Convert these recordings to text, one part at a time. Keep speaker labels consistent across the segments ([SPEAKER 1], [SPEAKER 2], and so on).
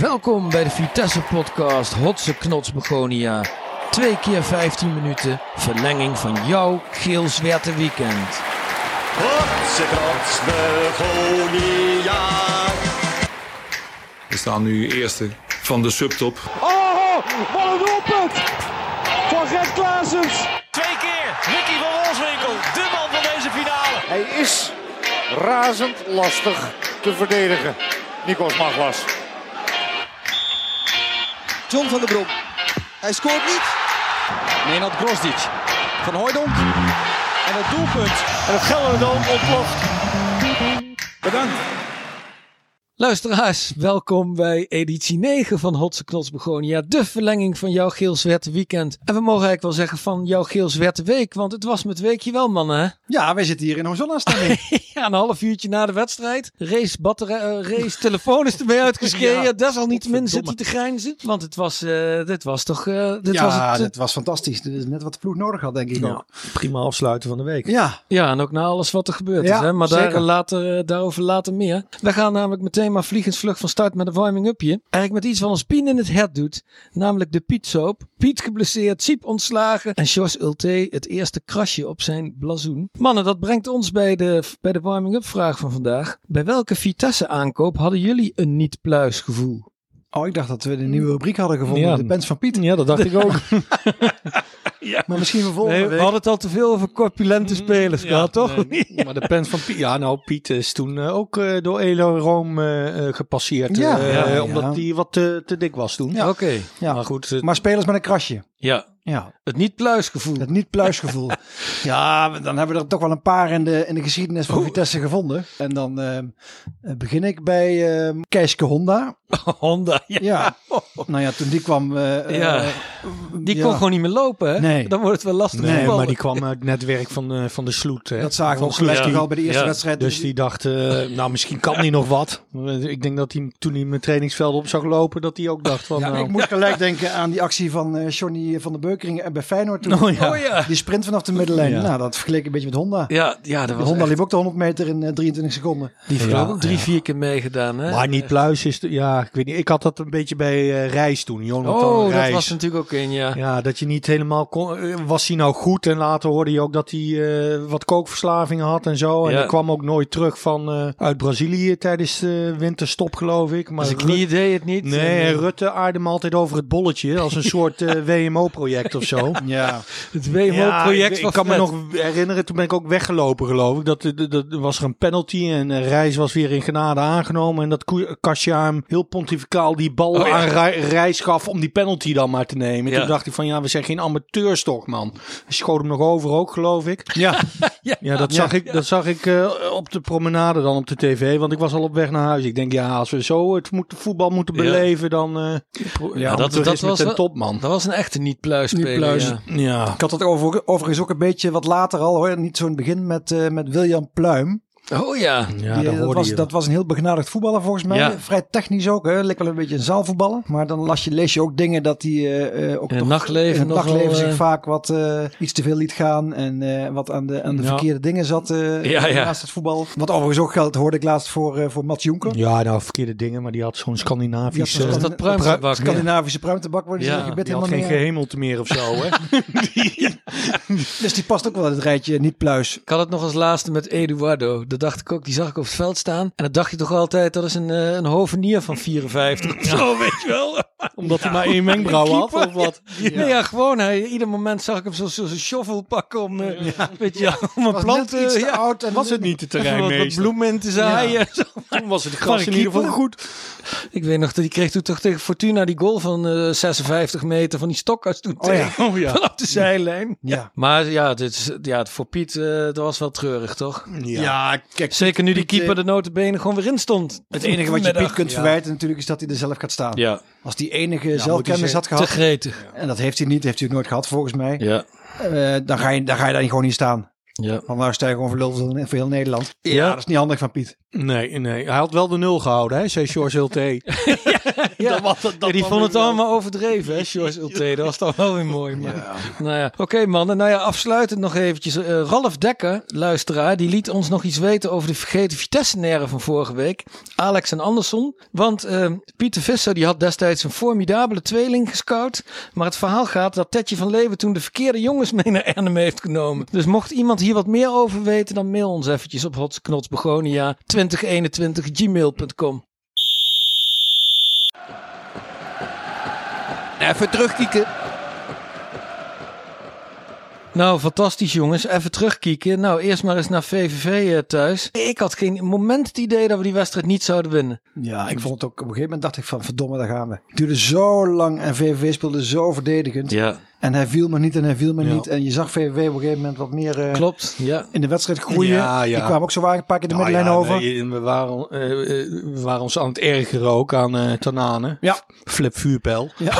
[SPEAKER 1] Welkom bij de Vitesse Podcast Hotse Knots Begonia. Twee keer 15 minuten verlenging van jouw geel zwerte weekend.
[SPEAKER 2] Hotse knots Begonia.
[SPEAKER 3] We staan nu eerste van de subtop.
[SPEAKER 4] Oh, wat een doelpunt! Van Gert Klaasens.
[SPEAKER 5] Twee keer Ricky van Wolfswinkel, de man van deze finale.
[SPEAKER 6] Hij is razend lastig te verdedigen. Nikos Maglas.
[SPEAKER 7] John van der Brom. Hij scoort niet.
[SPEAKER 5] Nenad Grosdic van Hooydonk. En het doelpunt.
[SPEAKER 4] En het Gelderdoom ontploft.
[SPEAKER 1] Luisteraars, welkom bij editie 9 van Hotse Knots Begonia. De verlenging van jouw geel zwerte weekend. En we mogen eigenlijk wel zeggen van jouw geel zwerte week, want het was met weekje wel mannen. hè?
[SPEAKER 7] Ja, wij zitten hier in Hosanna-stemming.
[SPEAKER 1] Ja, een half uurtje na de wedstrijd. Race, batterij, eh, race telefoon is ermee uitgeschreven. Desalniettemin zit hij te grijnzen. Want het was, eh, dit was toch... eh, dit was
[SPEAKER 7] ja,
[SPEAKER 1] het, eh,
[SPEAKER 7] dat was fantastisch. Dit is net wat de ploeg nodig had, denk ik
[SPEAKER 1] Ja.
[SPEAKER 7] ook.
[SPEAKER 8] prima afsluiten van de week.
[SPEAKER 7] Ja,
[SPEAKER 1] Ja, en ook na alles wat er gebeurd
[SPEAKER 7] Ja,
[SPEAKER 1] is. Hè? Maar daar
[SPEAKER 7] zeker.
[SPEAKER 1] later, eh, daarover later meer. We gaan namelijk meteen maar vliegensvlug van start met een warming-upje. Eigenlijk met iets van een spin in het head doet. Namelijk de Pietsoop. Piet geblesseerd, Siep ontslagen. En Sjors Ulte het eerste krasje op zijn blazoen. Mannen, dat brengt ons bij de, bij de warming-up vraag van vandaag. Bij welke Vitesse aankoop hadden jullie een niet-pluis gevoel?
[SPEAKER 7] oh, ik dacht dat we een nieuwe rubriek hadden gevonden.
[SPEAKER 8] Ja.
[SPEAKER 7] De pens van Piet.
[SPEAKER 8] Ja, dat dacht ik ook. oh.
[SPEAKER 7] Maar misschien voor volgende
[SPEAKER 8] we
[SPEAKER 7] week.
[SPEAKER 8] hadden het al te veel over corpulente spelers gehad, toch?
[SPEAKER 1] nee.
[SPEAKER 8] Mm, Maar de pens van Piet, ja nou, Piet is toen eh, ook eh, door Elo Room eh, eh, gepasseerd.
[SPEAKER 7] Ja.
[SPEAKER 8] eh,
[SPEAKER 7] Ja, ja.
[SPEAKER 8] Omdat die wat te, te dik was toen.
[SPEAKER 7] Ja.
[SPEAKER 1] Oké.
[SPEAKER 7] Ja.
[SPEAKER 8] Maar goed, eh,
[SPEAKER 7] Maar spelers met een krasje.
[SPEAKER 1] Ja,
[SPEAKER 7] Ja,
[SPEAKER 1] het niet-pluis gevoel.
[SPEAKER 7] het niet-pluisgevoel. ja, dan hebben we er toch wel een paar in de, in de geschiedenis van Vitesse gevonden. En dan ehm, eh, begin ik bij ehm Keiske Honda.
[SPEAKER 1] Honda, ja.
[SPEAKER 7] Ja. Nou ja, toen die kwam... eh,
[SPEAKER 1] Ja.
[SPEAKER 7] eh,
[SPEAKER 1] Die
[SPEAKER 7] ja.
[SPEAKER 1] kon gewoon niet meer lopen, hè?
[SPEAKER 7] Nee.
[SPEAKER 1] Dan wordt het wel lastig
[SPEAKER 8] nee,
[SPEAKER 1] voetballen.
[SPEAKER 8] maar die kwam uit het netwerk van, eh, van de sloet. Hè?
[SPEAKER 7] Dat zagen we
[SPEAKER 8] Van
[SPEAKER 7] ook gelijk
[SPEAKER 8] Sloet.
[SPEAKER 7] nog al bij de eerste
[SPEAKER 1] Ja.
[SPEAKER 7] wedstrijd.
[SPEAKER 8] Dus die dacht, eh, nou misschien kan die nog wat. Eh, Ik denk dat hij toen hij mijn trainingsveld op zag lopen, dat hij ook dacht van
[SPEAKER 7] Ja,
[SPEAKER 8] nou,
[SPEAKER 7] ik moet gelijk denken aan die actie van eh, Johnny van der Beukering en bij Feyenoord toen.
[SPEAKER 8] Oh ja.
[SPEAKER 1] Oh ja.
[SPEAKER 7] Die sprint vanaf de middenlijn.
[SPEAKER 8] Ja.
[SPEAKER 7] Nou, dat vergeleek ik een beetje met Honda.
[SPEAKER 1] Ja, ja dat was
[SPEAKER 7] Honda
[SPEAKER 1] echt-
[SPEAKER 7] liep ook de 100 meter in eh, 23 seconden.
[SPEAKER 1] die vrouw
[SPEAKER 8] Ja,
[SPEAKER 1] ook drie, vier keer meegedaan. Hè?
[SPEAKER 8] Maar niet pluis is, de- ja, ik weet niet. Ik had dat een beetje bij eh, Reis toen, Jonathan
[SPEAKER 1] Oh,
[SPEAKER 8] Reis.
[SPEAKER 1] dat was natuurlijk ook een, ja.
[SPEAKER 8] Ja, dat je niet helemaal kon. eh, Was hij nou goed? En later hoorde je ook dat hij eh, wat kookverslavingen had en zo. En
[SPEAKER 1] Ja.
[SPEAKER 8] hij kwam ook nooit terug van eh, uit Brazilië tijdens de winterstop, geloof ik. Maar
[SPEAKER 1] Als ik
[SPEAKER 8] Rut-
[SPEAKER 1] niet deed het niet.
[SPEAKER 8] Nee, en
[SPEAKER 1] En, eh,
[SPEAKER 8] Rutte aarde hem altijd over het bolletje. Als een soort eh, WMO-project of zo.
[SPEAKER 7] Ja.
[SPEAKER 1] het WMO-project
[SPEAKER 8] ik,
[SPEAKER 1] van
[SPEAKER 8] ik kan me
[SPEAKER 1] Fred.
[SPEAKER 8] nog herinneren, toen ben ik ook weggelopen geloof ik. Dat, eh, dat, dat was er een penalty en eh, Reis was weer in genade aangenomen. En dat Koe- Kasia hem heel pontificaal die bal
[SPEAKER 1] Oh, ja.
[SPEAKER 8] aan Rij- Reis gaf om die penalty dan maar te nemen.
[SPEAKER 1] Ja.
[SPEAKER 8] Toen dacht ik van ja, we zijn geen amateurs toch man. Hij schoot hem nog over ook geloof ik.
[SPEAKER 7] Ja.
[SPEAKER 8] Ja, dat zag ik, dat zag ik eh, op de promenade dan op de tv. Want ik was al op weg naar huis. Ik denk ja, als we zo het moet, voetbal moeten
[SPEAKER 1] Ja.
[SPEAKER 8] beleven dan... eh ja,
[SPEAKER 1] dat-
[SPEAKER 8] dat,
[SPEAKER 1] dat
[SPEAKER 8] is
[SPEAKER 1] was
[SPEAKER 8] met een
[SPEAKER 1] wel-
[SPEAKER 8] topman.
[SPEAKER 1] Dat was een echte niet-pluisspeler.
[SPEAKER 7] Niet-pluis.
[SPEAKER 1] Ja.
[SPEAKER 8] Ja.
[SPEAKER 7] Ik had dat over, overigens ook een beetje wat later al hoor. Niet zo'n begin met, eh, met William Pluim.
[SPEAKER 1] Oh ja.
[SPEAKER 8] Ja,
[SPEAKER 7] Die, eh,
[SPEAKER 8] dat
[SPEAKER 7] dat,
[SPEAKER 8] hoorde
[SPEAKER 7] was,
[SPEAKER 8] je.
[SPEAKER 7] dat was een heel begnadigd voetballer volgens mij.
[SPEAKER 1] Ja.
[SPEAKER 7] Vrij technisch ook. Hè. Leek wel een beetje een zaalvoetballer. Maar dan las je, lees je ook dingen dat hij eh, eh, ook
[SPEAKER 1] In het
[SPEAKER 7] toch
[SPEAKER 1] nachtleven
[SPEAKER 7] in het
[SPEAKER 1] nog wel,
[SPEAKER 7] nachtleven zich
[SPEAKER 1] eh,
[SPEAKER 7] vaak wat eh, iets te veel liet gaan. En eh, wat aan de, aan de
[SPEAKER 8] Ja.
[SPEAKER 7] verkeerde dingen zat eh,
[SPEAKER 1] Ja, ja.
[SPEAKER 7] naast het voetbal. Wat overigens ook geldt, hoorde ik laatst voor, eh, voor Mats Jonker.
[SPEAKER 8] Ja, nou, verkeerde dingen, maar die had zo'n
[SPEAKER 7] Die had
[SPEAKER 8] Scandinavisch...
[SPEAKER 7] zo'n
[SPEAKER 8] eh,
[SPEAKER 1] Was dat pruimgebak? Ja.
[SPEAKER 7] Scandinavische pruimtebak worden ze
[SPEAKER 1] Ja,
[SPEAKER 7] in je gebit
[SPEAKER 8] die had
[SPEAKER 7] helemaal
[SPEAKER 8] geen
[SPEAKER 7] niet meer.
[SPEAKER 8] gehemelte meer of zo, hè?
[SPEAKER 7] Dus die past ook wel in het rijtje niet pluis.
[SPEAKER 1] Ik had het nog als laatste met Eduardo. Dat dacht ik ook. Die zag ik op het veld staan. En dat dacht je toch altijd, dat is een, eh, een hovenier van 54 of zo, weet je wel.
[SPEAKER 8] Omdat hij maar één wenkbrauw had, of wat?
[SPEAKER 1] Ja, ja gewoon. Hij, ieder moment zag ik hem zo'n zo, zo'n shovel pakken om, eh, weet je, om een
[SPEAKER 7] Was
[SPEAKER 1] plant
[SPEAKER 7] net iets
[SPEAKER 1] eh,
[SPEAKER 7] te
[SPEAKER 1] ja,
[SPEAKER 7] oud en
[SPEAKER 8] Was het niet de
[SPEAKER 1] wat, wat
[SPEAKER 8] terreinmeester?
[SPEAKER 1] bloemen in te
[SPEAKER 7] ah,
[SPEAKER 1] zaaien. en zo.
[SPEAKER 8] Toen was het
[SPEAKER 1] Maar
[SPEAKER 8] gras
[SPEAKER 1] ik
[SPEAKER 8] in ieder geval
[SPEAKER 1] keeper.
[SPEAKER 8] goed.
[SPEAKER 1] Ik weet nog, dat die kreeg toen toch tegen Fortuna die goal van eh, 56 meter van die stokkas toen
[SPEAKER 7] Oh ja.
[SPEAKER 1] tegen. Vanaf de zijlijn.
[SPEAKER 7] Ja.
[SPEAKER 1] Maar ja, dit is, ja voor Piet eh, dat was wel treurig, toch?
[SPEAKER 8] Ja.
[SPEAKER 7] kijk.
[SPEAKER 1] Zeker nu die
[SPEAKER 7] Piet,
[SPEAKER 1] keeper
[SPEAKER 7] eh,
[SPEAKER 1] de notenbenen gewoon weer in stond.
[SPEAKER 7] Het enige wat je Piet
[SPEAKER 1] Vanmiddag.
[SPEAKER 7] kunt verwijten natuurlijk is dat hij er zelf gaat staan.
[SPEAKER 1] Ja,
[SPEAKER 7] Als die enige zelfkennis had
[SPEAKER 1] te
[SPEAKER 7] gehad,
[SPEAKER 1] gretig.
[SPEAKER 7] en dat heeft hij niet, heeft hij ook nooit gehad volgens mij,
[SPEAKER 1] Ja.
[SPEAKER 7] eh, dan, ga je, dan ga je daar niet gewoon in staan.
[SPEAKER 1] Ja.
[SPEAKER 7] Want daar sta je gewoon verlul voor voor heel Nederland.
[SPEAKER 1] Ja.
[SPEAKER 7] Dat is niet handig van Piet.
[SPEAKER 8] Nee, nee. Hij had wel de nul gehouden, hè, zei George L.T.
[SPEAKER 1] Ja.
[SPEAKER 7] Dan was dat- dat
[SPEAKER 1] Ja, die
[SPEAKER 7] dan
[SPEAKER 1] vond
[SPEAKER 7] weer
[SPEAKER 1] het
[SPEAKER 7] wel.
[SPEAKER 1] allemaal overdreven, hè, George Ulte. Dat was dan wel weer mooi. Maar. Nou ja. Oké, mannen. Nou ja, afsluitend nog eventjes. Eh, Ralf Dekker, luisteraar, die liet ons nog iets weten over de vergeten Vitesse-neren van vorige week. Alex en Anderson. Want eh, Pieter Visser die had destijds een formidabele tweeling gescout. Maar het verhaal gaat dat Tetje van Leeuwen toen de verkeerde jongens mee naar Arnhem heeft genomen. Dus mocht iemand hier wat meer over weten, dan mail ons eventjes op hotsknotsbegonia 2021 gmail.com.
[SPEAKER 5] Even terugkieken.
[SPEAKER 1] Nou, fantastisch jongens. Even terugkieken. Nou, eerst maar eens naar VVV eh, thuis. Ik had geen moment het idee dat we die wedstrijd niet zouden winnen.
[SPEAKER 7] Ja, ik vond het ook op een gegeven moment dacht ik van verdomme, daar gaan we. Het duurde zo lang en VVV speelde zo verdedigend.
[SPEAKER 1] Ja.
[SPEAKER 7] En hij viel maar niet en hij viel maar
[SPEAKER 8] Ja.
[SPEAKER 7] niet. En je zag VVV op een gegeven moment wat meer eh,
[SPEAKER 1] Klopt, ja.
[SPEAKER 7] in de wedstrijd groeien.
[SPEAKER 8] Ja, ja.
[SPEAKER 7] Die kwamen ook zo waar een paar keer de
[SPEAKER 8] Nou
[SPEAKER 7] middenlijn
[SPEAKER 8] ja,
[SPEAKER 7] over.
[SPEAKER 8] nee, we, waren, eh, eh, we waren ons aan het ergeren ook aan eh Tanane.
[SPEAKER 7] Ja.
[SPEAKER 8] Flip vuurpijl.
[SPEAKER 7] Ja.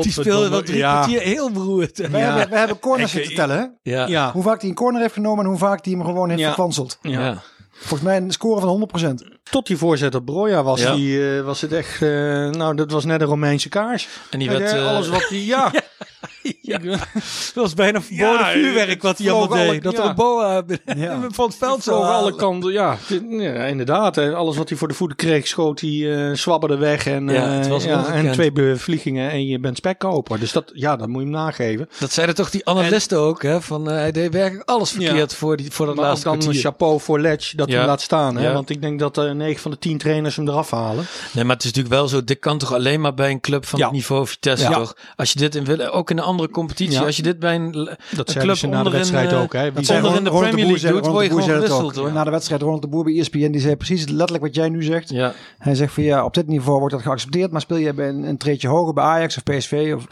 [SPEAKER 1] die speelde wel drie
[SPEAKER 8] ja.
[SPEAKER 1] kwartier heel beroerd.
[SPEAKER 7] We, hebben, we hebben corners
[SPEAKER 8] Ik-
[SPEAKER 7] zitten tellen. hè?
[SPEAKER 1] Ja.
[SPEAKER 8] Ja.
[SPEAKER 7] Hoe vaak hij een corner heeft genomen en hoe vaak hij hem gewoon heeft
[SPEAKER 8] Ja.
[SPEAKER 7] verkwanseld.
[SPEAKER 1] Ja.
[SPEAKER 8] Ja.
[SPEAKER 7] Volgens mij een score van 100%.
[SPEAKER 8] Tot die voorzet op Broja was,
[SPEAKER 1] Ja.
[SPEAKER 8] die, eh, was het echt... eh, nou, dat was net een Romeinse kaars.
[SPEAKER 1] En die werd,
[SPEAKER 8] eh,
[SPEAKER 1] eh,
[SPEAKER 8] alles wat die... Ja,
[SPEAKER 1] Dat was bijna verboden
[SPEAKER 8] Ja,
[SPEAKER 1] vuurwerk wat hij
[SPEAKER 8] vloog
[SPEAKER 1] allemaal
[SPEAKER 8] alle-
[SPEAKER 1] deed. Dat
[SPEAKER 8] ja.
[SPEAKER 1] de Boa
[SPEAKER 7] Ja.
[SPEAKER 1] van het veld zou
[SPEAKER 8] Voor alle
[SPEAKER 1] halen.
[SPEAKER 8] kanten, ja. Dit- ja, inderdaad, hè. alles wat hij voor de voeten kreeg, schoot hij, eh, zwabberde weg. En,
[SPEAKER 1] Ja,
[SPEAKER 8] eh,
[SPEAKER 1] het was
[SPEAKER 8] ja,
[SPEAKER 1] ongekend.
[SPEAKER 8] en twee bevliegingen en je bent spekkoper. Dus dat, ja, dat moet je hem nageven.
[SPEAKER 1] Dat zeiden toch die analisten ook, hè? Van, eh, hij deed werkelijk alles verkeerd voor, die, voor dat
[SPEAKER 8] Maar ook
[SPEAKER 1] laatste
[SPEAKER 8] dan een
[SPEAKER 1] kwartier.
[SPEAKER 8] chapeau voor Ledge dat
[SPEAKER 1] Ja.
[SPEAKER 8] hij hem laat staan. Hè?
[SPEAKER 1] Ja.
[SPEAKER 8] Want ik denk dat eh 9 van de 10 trainers hem eraf halen.
[SPEAKER 1] Nee, maar het is natuurlijk wel zo. Dit kan toch alleen maar bij een club van
[SPEAKER 8] Ja.
[SPEAKER 1] het niveau Vitesse,
[SPEAKER 8] Ja.
[SPEAKER 1] toch? Als je dit in wil, ook in een andere competitie.
[SPEAKER 8] Ja.
[SPEAKER 1] Als je dit bij een, dat een
[SPEAKER 8] Dat zeiden ze na de
[SPEAKER 1] onderin,
[SPEAKER 8] wedstrijd
[SPEAKER 1] eh,
[SPEAKER 8] ook. Hè? Wie
[SPEAKER 1] zei
[SPEAKER 8] zegt-
[SPEAKER 1] Onder in de
[SPEAKER 7] Ronald
[SPEAKER 1] Premier
[SPEAKER 7] Boer
[SPEAKER 1] League,
[SPEAKER 7] zei-
[SPEAKER 1] dude,
[SPEAKER 7] Ronald
[SPEAKER 1] word je
[SPEAKER 7] de Boer
[SPEAKER 1] gewoon
[SPEAKER 7] zei dat ook.
[SPEAKER 1] gewisseld, hoor.
[SPEAKER 7] Na de wedstrijd Ronald de Boer bij E ESPN, die zei precies letterlijk wat jij nu zegt.
[SPEAKER 1] Ja.
[SPEAKER 7] Hij zegt van ja, op dit niveau wordt dat geaccepteerd, maar speel je bij een, een treetje hoger bij Ajax of PSV of